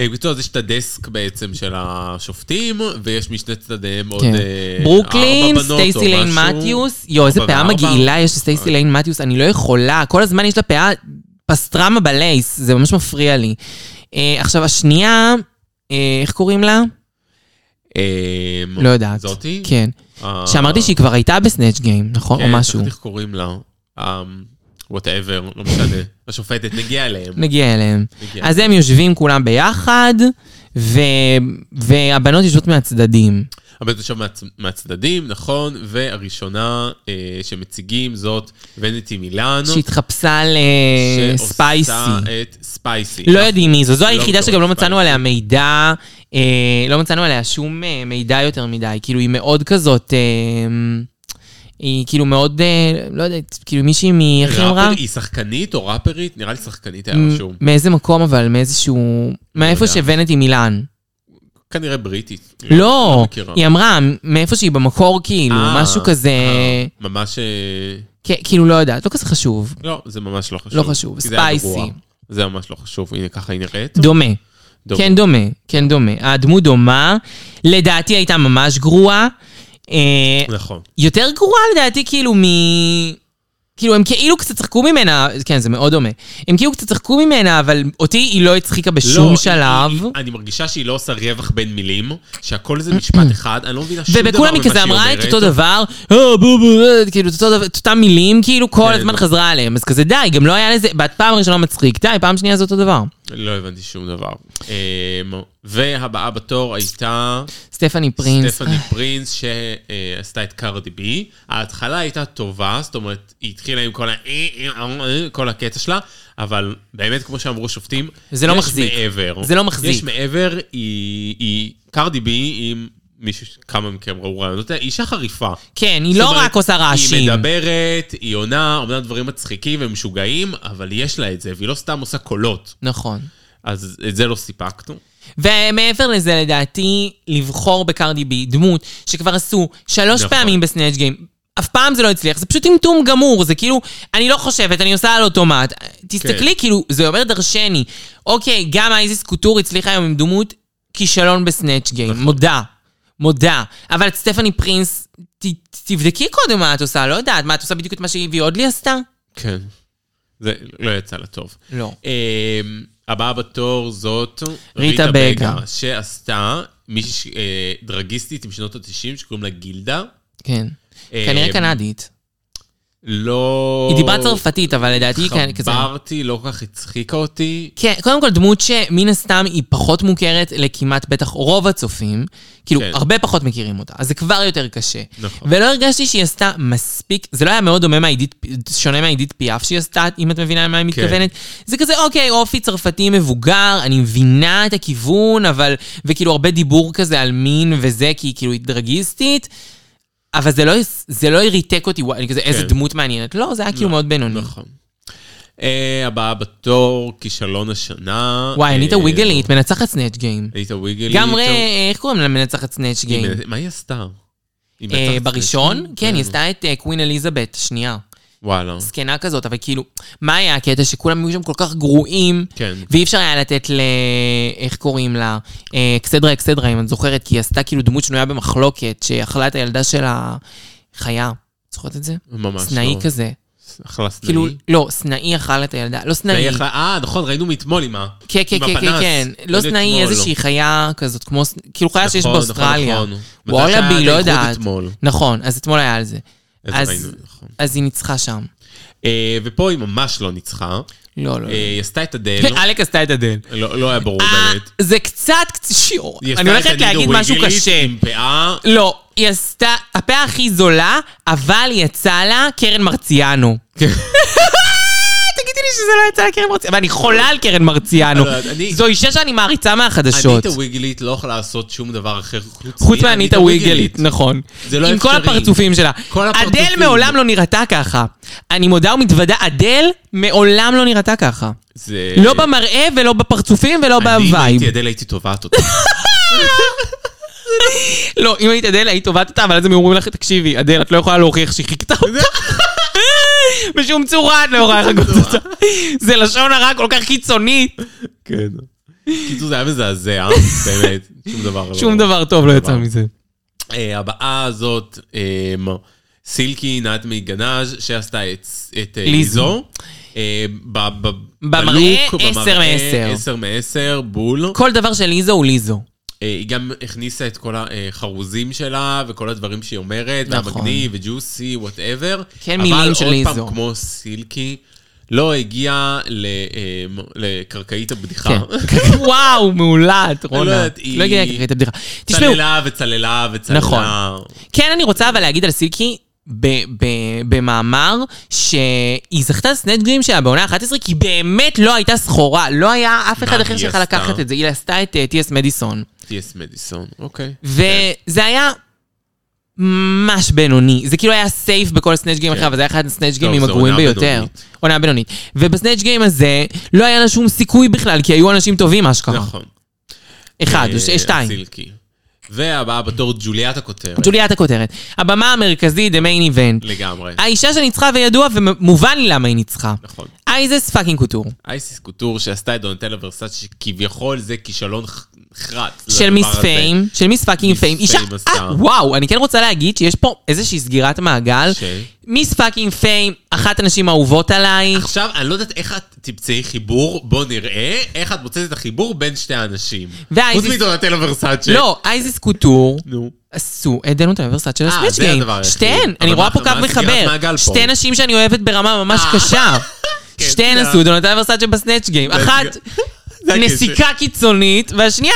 Speaker 3: אה, בקיצור, אז יש את הדסק בעצם של השופטים, ויש משני צדדיהם עוד
Speaker 2: כן.
Speaker 3: אה,
Speaker 2: ברוקלין,
Speaker 3: ארבע בנות או
Speaker 2: סטייסי ליין
Speaker 3: משהו.
Speaker 2: מתיוס, יואו, איזה
Speaker 3: ארבע
Speaker 2: פאה
Speaker 3: וארבע.
Speaker 2: מגעילה יש לסטייסי ליין מתיוס, אני לא יכולה, כל הזמן יש לה פאה פסטרמה בלייס, זה ממש מפריע לי. אה, עכשיו, השנייה, אה, איך קוראים לה?
Speaker 3: אמ,
Speaker 2: לא יודעת.
Speaker 3: זאתי?
Speaker 2: כן.
Speaker 3: אה,
Speaker 2: שאמרתי שהיא כבר הייתה בסנאצ' גיים, נכון? או
Speaker 3: כן,
Speaker 2: משהו.
Speaker 3: שכחתי איך קוראים לה. וואטאבר, לא משנה. השופטת, נגיע אליהם.
Speaker 2: נגיע אליהם.
Speaker 3: נגיע.
Speaker 2: אז הם יושבים כולם ביחד, ו... והבנות יושבות מהצדדים.
Speaker 3: הבן יושב מהצ- מהצדדים, נכון, והראשונה אה, שמציגים זאת ונטי מילאנו.
Speaker 2: שהתחפשה
Speaker 3: שעושה
Speaker 2: לספייסי.
Speaker 3: את ספייסי.
Speaker 2: אה, לא יודעים מי זו, זו
Speaker 3: לא
Speaker 2: היחידה
Speaker 3: בטוח,
Speaker 2: שגם לא
Speaker 3: ספייסי.
Speaker 2: מצאנו עליה מידע, אה, לא מצאנו עליה שום אה, מידע יותר מדי, כאילו היא מאוד כזאת, אה, היא כאילו מאוד, אה, לא יודעת, כאילו מישהי מ... איך היא אמרה?
Speaker 3: ראפר- היא שחקנית או ראפרית? נראה לי שחקנית היה רשום.
Speaker 2: מאיזה מקום אבל, מאיזשהו... מאיפה
Speaker 3: לא יודע.
Speaker 2: שהבאנטי מילאן.
Speaker 3: כנראה בריטית.
Speaker 2: לא,
Speaker 3: מכירה.
Speaker 2: היא אמרה, מאיפה שהיא במקור כאילו,
Speaker 3: אה,
Speaker 2: משהו כזה,
Speaker 3: אה, ממש... אה,
Speaker 2: כ- כאילו לא יודעת, לא כזה חשוב,
Speaker 3: לא, זה ממש לא חשוב.
Speaker 2: לא חשוב,
Speaker 3: כי זה היה
Speaker 2: ספייסי.
Speaker 3: גרוע. זה ממש לא חשוב, הנה ככה היא נראית.
Speaker 2: דומה.
Speaker 3: דומה.
Speaker 2: כן דומה, כן דומה. הדמות דומה, לדעתי הייתה ממש גרועה. אה,
Speaker 3: נכון.
Speaker 2: יותר גרועה לדעתי כאילו מ... כאילו הם כאילו קצת צחקו ממנה, כן זה מאוד דומה. הם כאילו קצת צחקו ממנה, אבל אותי היא לא הצחיקה
Speaker 3: לא,
Speaker 2: בשום
Speaker 3: היא-
Speaker 2: שלב.
Speaker 3: היא- אני מרגישה שהיא לא עושה רווח בין מילים, שהכל זה משפט אחד, אני לא מבינה שום דבר ממה שהיא אומרת.
Speaker 2: ובכולם היא כזה אמרה את אותו דבר, "אה, בוא, בוא, אה", כאילו את אותו דבר- את אותם מילים, כאילו כל
Speaker 3: כן.
Speaker 2: הזמן חזרה עליהם. אז כזה די, גם לא היה לזה, בפעם הראשונה מצחיק, די, פעם שנייה זה אותו דבר.
Speaker 3: לא הבנתי שום דבר. אמ, והבאה בתור הייתה
Speaker 2: סטפני פרינס.
Speaker 3: סטפני פרינס, שעשתה את קארדי בי. ההתחלה הייתה טובה, זאת אומרת, היא התחילה עם כל ה... כל הקטע שלה, אבל באמת, כמו שאמרו שופטים,
Speaker 2: זה לא
Speaker 3: יש
Speaker 2: מחזיק.
Speaker 3: מעבר.
Speaker 2: זה לא מחזיק.
Speaker 3: יש מעבר, היא- היא... קארדי בי, אם מישהו, כמה מכם ראו רעיונות, היא אישה חריפה.
Speaker 2: כן, היא
Speaker 3: זאת
Speaker 2: לא
Speaker 3: אומרת,
Speaker 2: רק עושה רעשים.
Speaker 3: היא מדברת, היא עונה, אומנם דברים מצחיקים ומשוגעים, אבל יש לה את זה, והיא לא סתם עושה קולות.
Speaker 2: נכון.
Speaker 3: אז את זה לא סיפקנו.
Speaker 2: ומעבר לזה, לדעתי, לבחור בקרדי בי דמות שכבר עשו שלוש
Speaker 3: נכון.
Speaker 2: פעמים בסנאצ' גיים. אף פעם זה לא הצליח, זה פשוט טמטום גמור, זה כאילו, אני לא חושבת, אני עושה על אוטומט. תסתכלי,
Speaker 3: כן.
Speaker 2: כאילו, זה אומר דרשני. אוקיי, גם אייזיס קוטור הצליחה היום עם דמות כישלון בסנאצ' גיים,
Speaker 3: נכון.
Speaker 2: מודה. מודה. אבל את סטפני פרינס, ת, תבדקי קודם מה את עושה, לא יודעת, מה את עושה בדיוק את מה שהיא עוד לי עשתה?
Speaker 3: כן. זה לא יצא לה טוב.
Speaker 2: לא.
Speaker 3: אמ, הבאה בתור זאת
Speaker 2: ריטה בגה.
Speaker 3: שעשתה מישהי אה, דרגיסטית עם שנות ה-90 שקוראים לה גילדה.
Speaker 2: כן.
Speaker 3: אה,
Speaker 2: כנראה קנדית.
Speaker 3: לא...
Speaker 2: היא דיברה צרפתית, אבל לדעתי היא כזה...
Speaker 3: חברתי, לא כל כך הצחיקה אותי.
Speaker 2: כן, קודם כל דמות שמן הסתם היא פחות מוכרת לכמעט בטח רוב הצופים, כאילו
Speaker 3: כן.
Speaker 2: כן. הרבה פחות מכירים אותה, אז זה כבר יותר קשה.
Speaker 3: נכון.
Speaker 2: ולא הרגשתי שהיא עשתה מספיק, זה לא היה מאוד דומה מהעידית, שונה מהעידית פיאף שהיא עשתה, אם את מבינה למה היא
Speaker 3: כן.
Speaker 2: מתכוונת. זה כזה, אוקיי, אופי צרפתי מבוגר, אני מבינה את הכיוון, אבל, וכאילו הרבה דיבור כזה על מין וזה, כי היא כאילו היא דרגיסטית, אבל זה לא, זה לא ריתק אותי, וואי, אני כזה, איזה דמות מעניינת. לא, זה היה כאילו מאוד בינוני.
Speaker 3: כן. נכון. אה, הבאה בתור, כישלון השנה.
Speaker 2: וואי, אניטה
Speaker 3: אה,
Speaker 2: ויגלית, מנצחת סנאצ' גיים.
Speaker 3: אניטה ויגלית.
Speaker 2: גם ר... איך קוראים למנצחת סנאצ'
Speaker 3: היא
Speaker 2: גיים?
Speaker 3: מנ- מה היא עשתה? היא
Speaker 2: אה,
Speaker 3: מנצחת
Speaker 2: בראשון?
Speaker 3: סנאצ'
Speaker 2: כן, היא עשתה את אה, קווין אליזבת, שנייה.
Speaker 3: וואלה.
Speaker 2: זקנה כזאת, אבל כאילו, מה היה הקטע שכולם היו שם כל כך גרועים,
Speaker 3: כן.
Speaker 2: ואי אפשר היה לתת ל... איך קוראים לה? אה, אקסדרה אקסדרה, אם את זוכרת, כי היא עשתה כאילו דמות שנויה במחלוקת, שאכלה את הילדה של החיה. זוכרת את זה?
Speaker 3: ממש לא.
Speaker 2: סנאי כזה.
Speaker 3: אכלה סנאי.
Speaker 2: כאילו, לא, סנאי אכל את הילדה, לא סנאי.
Speaker 3: סנאי אכלה- אה, נכון, ראינו מאתמול עם ה...
Speaker 2: כן, כן,
Speaker 3: עם
Speaker 2: כן, כן,
Speaker 3: הפנס.
Speaker 2: כן. לא
Speaker 3: ראינו
Speaker 2: סנאי,
Speaker 3: אתמול.
Speaker 2: איזושהי חיה כזאת, כמו, ס- כאילו חיה שיש
Speaker 3: נכון, נכון,
Speaker 2: באוסטרליה.
Speaker 3: נכון. מתי שהיה את
Speaker 2: וואלאבי, לא
Speaker 3: האיחוד
Speaker 2: יודעת.
Speaker 3: אתמול.
Speaker 2: נכון, אז אתמול היה על זה.
Speaker 3: אז
Speaker 2: אז-
Speaker 3: ראינו, נכון.
Speaker 2: אז היא ניצחה שם.
Speaker 3: אה, ופה היא ממש לא ניצחה.
Speaker 2: לא, לא.
Speaker 3: אה,
Speaker 2: לא.
Speaker 3: היא עשתה את הדל.
Speaker 2: אלק עשתה את הדל.
Speaker 3: אה, לא לא היה ברור
Speaker 2: אה,
Speaker 3: באמת.
Speaker 2: זה קצת קצת שיעור.
Speaker 3: היא עשתה
Speaker 2: אני
Speaker 3: את
Speaker 2: הולכת
Speaker 3: הנינו
Speaker 2: להגיד משהו
Speaker 3: ויגלית
Speaker 2: קשה.
Speaker 3: עם פאה.
Speaker 2: לא, היא עשתה, הפה הכי זולה, אבל יצא לה קרן מרציאנו. תגידי לי שזה לא יצא לה קרן מרציאנו, ואני חולה על קרן מרציאנו.
Speaker 3: לא, לא, אני-
Speaker 2: זו אישה שאני מעריצה מהחדשות.
Speaker 3: אניטה ויגלית לא יכולה לעשות שום דבר אחר חוץ
Speaker 2: חוץ
Speaker 3: מאניטה
Speaker 2: מאניטה ויגלית, נכון.
Speaker 3: זה לא
Speaker 2: עם כל
Speaker 3: אפשרי.
Speaker 2: הפרצופים שלה.
Speaker 3: כל הפרצופים.
Speaker 2: אדל מעולם לא נראתה ככה. אני מודה ומתוודה, אדל מעולם לא נראתה ככה.
Speaker 3: זה-
Speaker 2: לא במראה ולא בפרצופים ולא
Speaker 3: אני, אם
Speaker 2: בווייב.
Speaker 3: הייתי אדל, הייתי תובעת אותה.
Speaker 2: לא, אם היית אדל, היית תובעת אותה, אבל אז הם אומרים לך, תקשיבי, אדל, את לא יכולה להוכיח שהיא חיכתה אותה. בשום צורה את לא יכולה לחכות אותה. זה לשון הרע כל כך קיצונית.
Speaker 3: כן. קיצור, זה היה מזעזע, באמת. שום דבר לא...
Speaker 2: שום דבר טוב לא יצא
Speaker 3: דבר.
Speaker 2: מזה.
Speaker 3: אה, הבאה הזאת, אה, סילקי נעד מגנאז' שעשתה את את, אה,
Speaker 2: ליזו.
Speaker 3: ליזו. אה, ב- ב-
Speaker 2: במראה,
Speaker 3: בלוק,
Speaker 2: עשר
Speaker 3: במראה,
Speaker 2: מעשר.
Speaker 3: עשר מעשר, בול.
Speaker 2: כל דבר של ליזו הוא ליזו.
Speaker 3: אה, היא גם הכניסה את כל החרוזים שלה, וכל הדברים שהיא אומרת,
Speaker 2: נכון.
Speaker 3: והמגניב, וג'וסי, וואטאבר.
Speaker 2: כן, מילים של
Speaker 3: אבל עוד
Speaker 2: ליזו.
Speaker 3: פעם, כמו סילקי, לא הגיעה ל- אה, מ- לקרקעית הבדיחה.
Speaker 2: כן. וואו, מעולת, רונה.
Speaker 3: יודעת, היא-
Speaker 2: לא הגיעה לקראת את הבדיחה. תשמעו,
Speaker 3: צללה וצללה וצללה.
Speaker 2: נכון. כן, אני רוצה אבל להגיד על סילקי, ב- ב- במאמר, שהיא זכתה סנט גרים שלה בעונה 11, כי באמת לא הייתה סחורה, לא היה אף אחד
Speaker 3: מה
Speaker 2: אחר
Speaker 3: היא
Speaker 2: שיכול
Speaker 3: עשתה? כן.
Speaker 2: לקחת את זה. היא עשתה את אה, טי.אס מדיסון,
Speaker 3: טי.אס מדיסון, אוקיי.
Speaker 2: וזה היה... ממש בינוני, זה כאילו היה סייף בכל סנאצ' גיים
Speaker 3: כן.
Speaker 2: אחר, אבל זה היה אחד הסנאצ'
Speaker 3: טוב,
Speaker 2: גיימים
Speaker 3: זו
Speaker 2: הגרועים
Speaker 3: עונה
Speaker 2: ביותר.
Speaker 3: בינונית.
Speaker 2: עונה בינונית. ובסנאצ' גיים הזה, לא היה לה שום סיכוי בכלל, כי היו אנשים טובים, אשכרה.
Speaker 3: נכון.
Speaker 2: אחד,
Speaker 3: אה,
Speaker 2: ש- שתיים.
Speaker 3: סילקי. והבאה בתור ג'וליית הכותרת.
Speaker 2: ג'וליית הכותרת. הבמה המרכזית, the main event.
Speaker 3: לגמרי.
Speaker 2: האישה שניצחה וידוע ומובן לי למה היא ניצחה.
Speaker 3: נכון. לא,
Speaker 2: אייזס פאקינג קוטור.
Speaker 3: אייסיס קוטור שעשתה את דונטלה ורסאצ' שכביכול זה כישלון ח- נחרץ.
Speaker 2: של
Speaker 3: לדבר
Speaker 2: מיס
Speaker 3: הזה.
Speaker 2: פיים, של מיס פאקינג
Speaker 3: מיס
Speaker 2: פיים. אישה,
Speaker 3: פיים עשתה.
Speaker 2: אה, וואו, אני כן רוצה להגיד שיש פה איזושהי סגירת מעגל.
Speaker 3: ש?
Speaker 2: מיס פאקינג פיים, אחת הנשים האהובות עליי.
Speaker 3: עכשיו, אני לא יודעת איך את תמצאי חיבור, בוא נראה איך את מוצאת את החיבור בין שתי האנשים.
Speaker 2: והאייסיס-
Speaker 3: חוץ מדונטלה ורסאצ'ה.
Speaker 2: לא, אייזיס קוטור.
Speaker 3: נו.
Speaker 2: עשו את דנות האוניברסיטת של
Speaker 3: אה,
Speaker 2: הסוויץ'
Speaker 3: זה
Speaker 2: גיים.
Speaker 3: הדבר היחיד.
Speaker 2: שתיהן,
Speaker 3: אבל
Speaker 2: אני
Speaker 3: מה-
Speaker 2: רואה פה
Speaker 3: מה
Speaker 2: קו
Speaker 3: הסגירת
Speaker 2: מחבר.
Speaker 3: מעגל פה?
Speaker 2: שתי נשים שאני אוהבת ברמה ממש
Speaker 3: אה.
Speaker 2: קשה.
Speaker 3: כן,
Speaker 2: שתיהן
Speaker 3: זה-
Speaker 2: עשו את דנות האוניברסיטת בסנאצ' גיים.
Speaker 3: זה-
Speaker 2: אחת,
Speaker 3: זה הקשר.
Speaker 2: נסיקה קיצונית, והשנייה,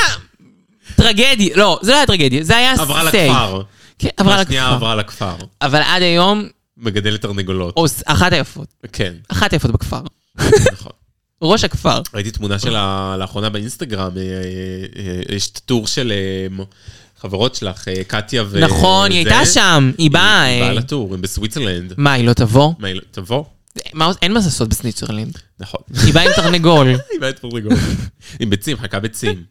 Speaker 2: טרגדיה. לא, זה לא היה טרגדיה, זה היה
Speaker 3: עברה
Speaker 2: סייף.
Speaker 3: לכפר.
Speaker 2: כן, עברה
Speaker 3: השנייה
Speaker 2: לכפר.
Speaker 3: עברה לכפר.
Speaker 2: אבל עד היום,
Speaker 3: מגדלת תרנגולות.
Speaker 2: אוס- אחת היפות.
Speaker 3: כן,
Speaker 2: אחת היפות בכפר.
Speaker 3: נכון.
Speaker 2: ראש הכפר.
Speaker 3: ראיתי תמונה שלה לאחרונה באינסטגרם, אה, אה, אה, יש טור של אה, מ- חברות שלך, אה, קטיה ו...
Speaker 2: נכון, היא
Speaker 3: זה.
Speaker 2: הייתה שם, היא באה.
Speaker 3: היא
Speaker 2: אה,
Speaker 3: באה לטור, הם בסוויצרלנד.
Speaker 2: מה, היא לא תבוא?
Speaker 3: מה, היא לא- תבוא.
Speaker 2: מה עוש- אין מה לעשות בסניצרלינד.
Speaker 3: נכון.
Speaker 2: היא באה עם תרנגול.
Speaker 3: היא באה את פורטוגול. עם ביצים, חכה ביצים.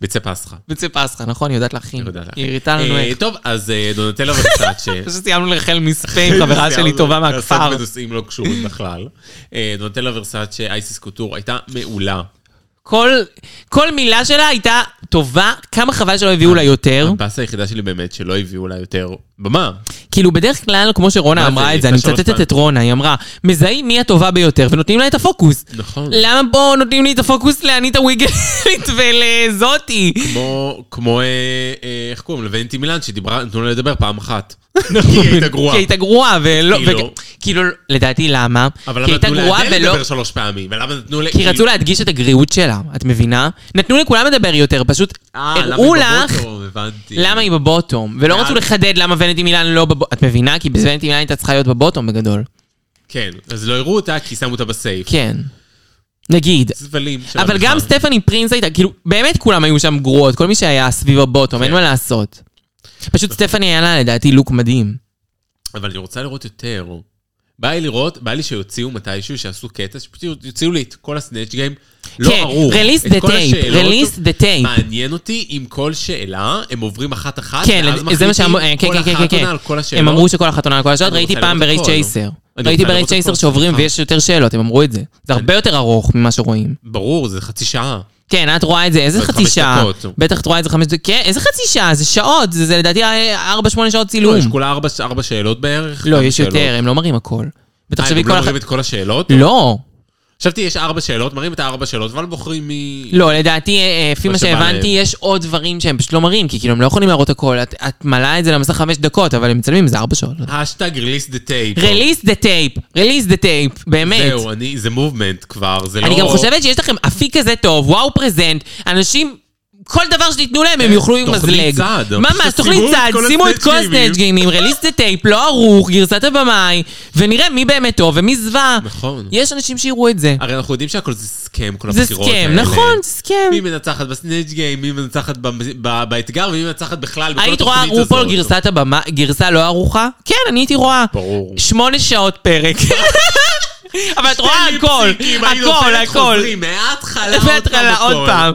Speaker 3: ביצי פסחה.
Speaker 2: ביצי פסחה, נכון? היא יודעת להכין.
Speaker 3: אני יודע לך.
Speaker 2: היא הראתה לנו
Speaker 3: אה,
Speaker 2: איך.
Speaker 3: טוב, אז אה, דונטלה ורסאצ'ה.
Speaker 2: אחרי שסיימנו לרחל מספיין, חברה שלי טובה מהכפר.
Speaker 3: לעסוק בנושאים לא קשורים בכלל. אה, דונטלה ורסאצ'ה, אייסיס קוטור, הייתה מעולה.
Speaker 2: כל כל מילה שלה הייתה טובה, כמה חבל שלא הביאו לה יותר.
Speaker 3: הבאסה היחידה שלי באמת שלא הביאו לה יותר במה.
Speaker 2: כאילו בדרך כלל, כמו שרונה
Speaker 3: מה זה,
Speaker 2: אמרה את זה, אני
Speaker 3: הייתה שלוש
Speaker 2: מצטטת
Speaker 3: פעמים.
Speaker 2: את רונה, היא אמרה, מזהים מי הטובה ביותר ונותנים לה את הפוקוס.
Speaker 3: נכון.
Speaker 2: למה פה נותנים לי את הפוקוס לאניטה ויגלית ולזאתי?
Speaker 3: כמו, כמו, אה, אה, איך קוראים? לבנטי מילן, שדיברה, נתנו לה לדבר פעם אחת. כי היא הייתה גרועה.
Speaker 2: כי היא הייתה גרועה, ולא...
Speaker 3: כאילו.
Speaker 2: וג- כאילו, לדעתי למה?
Speaker 3: אבל
Speaker 2: כי
Speaker 3: למה
Speaker 2: הייתה
Speaker 3: נתנו
Speaker 2: גרועה
Speaker 3: לאדל
Speaker 2: ולא...
Speaker 3: לדבר שלוש פעמים? ולמה נתנו ל...
Speaker 2: כי רצו להדגיש את הגריעות שלה, את מבינה? נתנו לכולם לדבר יותר, פשוט
Speaker 3: אה,
Speaker 2: הראו לך למה היא בבוטום, ולא
Speaker 3: ואז-
Speaker 2: רצו לחדד למה ונטי מילן לא בבוטום, את מבינה? כי ונטי מילן הייתה צריכה להיות בבוטום בגדול.
Speaker 3: כן, אז לא הראו אותה כי שמו אותה בסייף.
Speaker 2: כן. נגיד.
Speaker 3: זבלים של
Speaker 2: אבל
Speaker 3: המחאה.
Speaker 2: גם סטפני פרינס הייתה, כאילו, באמת כולם היו שם גרועות, כל מי שהיה סביב הבוטום, אין מה לעשות. פשוט סטפני היה לה לדעתי לוק מדהים.
Speaker 3: אבל אני רוצה לראות יותר. בא לי לראות, בא לי שיוציאו מתישהו, שיעשו קטע, שפשוט יוציאו לי את כל הסנאצ' גיים. לא
Speaker 2: כן,
Speaker 3: ארוך.
Speaker 2: release
Speaker 3: את
Speaker 2: the
Speaker 3: כל
Speaker 2: tape,
Speaker 3: השאלות.
Speaker 2: release the tape.
Speaker 3: מעניין אותי אם כל שאלה, הם עוברים אחת-אחת,
Speaker 2: כן,
Speaker 3: ואז
Speaker 2: לד- זה מה שאמרו, אה, כן,
Speaker 3: מחליטים
Speaker 2: כן, כן,
Speaker 3: כל
Speaker 2: כן,
Speaker 3: אחת
Speaker 2: כן.
Speaker 3: עונה על כל השאלות.
Speaker 2: הם אמרו שכל אחת עונה על כל השאלות,
Speaker 3: אני
Speaker 2: ראיתי
Speaker 3: רוצה
Speaker 2: פעם
Speaker 3: לראות
Speaker 2: ברייט
Speaker 3: הכל. לא?
Speaker 2: צ'ייסר.
Speaker 3: אני
Speaker 2: ראיתי
Speaker 3: רוצה
Speaker 2: ברייט
Speaker 3: לראות
Speaker 2: צ'ייסר
Speaker 3: הכל,
Speaker 2: שעוברים
Speaker 3: סליחה.
Speaker 2: ויש יותר שאלות, הם אמרו את זה. זה הרבה יותר ארוך ממה שרואים.
Speaker 3: ברור, זה חצי שעה.
Speaker 2: כן, את רואה את זה, איזה
Speaker 3: זה
Speaker 2: חצי
Speaker 3: חמש
Speaker 2: שעה?
Speaker 3: דקות.
Speaker 2: בטח את רואה את זה חמש דקות. כן, איזה חצי שעה? זה שעות, זה זה לדעתי 4-8 שעות צילום.
Speaker 3: לא, יש כולה ארבע, ארבע שאלות בערך.
Speaker 2: לא,
Speaker 3: כמה
Speaker 2: יש
Speaker 3: שאלות.
Speaker 2: יותר, הם לא מראים הכל.
Speaker 3: אה,
Speaker 2: ותחשבי
Speaker 3: הם
Speaker 2: כל
Speaker 3: לא
Speaker 2: אחת...
Speaker 3: מראים את כל השאלות?
Speaker 2: לא,
Speaker 3: חשבתי, יש ארבע שאלות, מראים את הארבע שאלות, אבל בוחרים מ...
Speaker 2: לא, לדעתי, אה, לפי
Speaker 3: מה
Speaker 2: מה
Speaker 3: שבא
Speaker 2: שהבנתי,
Speaker 3: להם.
Speaker 2: יש עוד דברים שהם פשוט לא מראים, כי כאילו הם לא יכולים להראות הכל. את- את מלאה את זה למסך 5 דקות, אבל הם מצלמים, זה 4 שעות.
Speaker 3: השטג release the tape.
Speaker 2: רליס דה טייפ, רליס דה טייפ, באמת.
Speaker 3: אה, זהו, אני, זה מובמנט כבר, זה לא...
Speaker 2: אני גם חושבת שיש לכם אפיק כזה טוב, וואו פרזנט, אנשים, כל דבר שתיתנו להם הם יאכלו עם
Speaker 3: אה, תוכנית
Speaker 2: מזלג.
Speaker 3: צעד.
Speaker 2: ממש,
Speaker 3: שימו
Speaker 2: תוכנית
Speaker 3: את
Speaker 2: צעד,
Speaker 3: כל
Speaker 2: שימו את
Speaker 3: הסנאצ'
Speaker 2: כל
Speaker 3: גיימים.
Speaker 2: הסנאצ' גיימים, רליס דה טייפ, לא ערוך, גרסת הבמאי, ונראה מי באמת טוב ומי זוועה.
Speaker 3: נכון.
Speaker 2: יש אנשים שיראו את זה.
Speaker 3: הרי אנחנו יודעים שהכל זה סכם, כל
Speaker 2: זה
Speaker 3: הבחירות
Speaker 2: סכם,
Speaker 3: האלה.
Speaker 2: נכון, זה סכם.
Speaker 3: מי מנצחת בסנאצ' גיים, מי מנצחת ב- ב- באתגר, ומי מנצחת בכלל בכל
Speaker 2: היית רואה
Speaker 3: התוכנית הזאת.
Speaker 2: רופול גרסת הבמה, גרסה לא ערוכה? כן, אני הייתי רואה.
Speaker 3: ברור.
Speaker 2: שמונה שעות פרק. אבל את רואה הכל,
Speaker 3: ליפסינקים,
Speaker 2: הכל,
Speaker 3: היינו עוברת
Speaker 2: הכל.
Speaker 3: חוזרים,
Speaker 2: לא,
Speaker 3: מההתחלה עוד פעם.
Speaker 2: בהתחלה עוד
Speaker 3: הכל.
Speaker 2: פעם.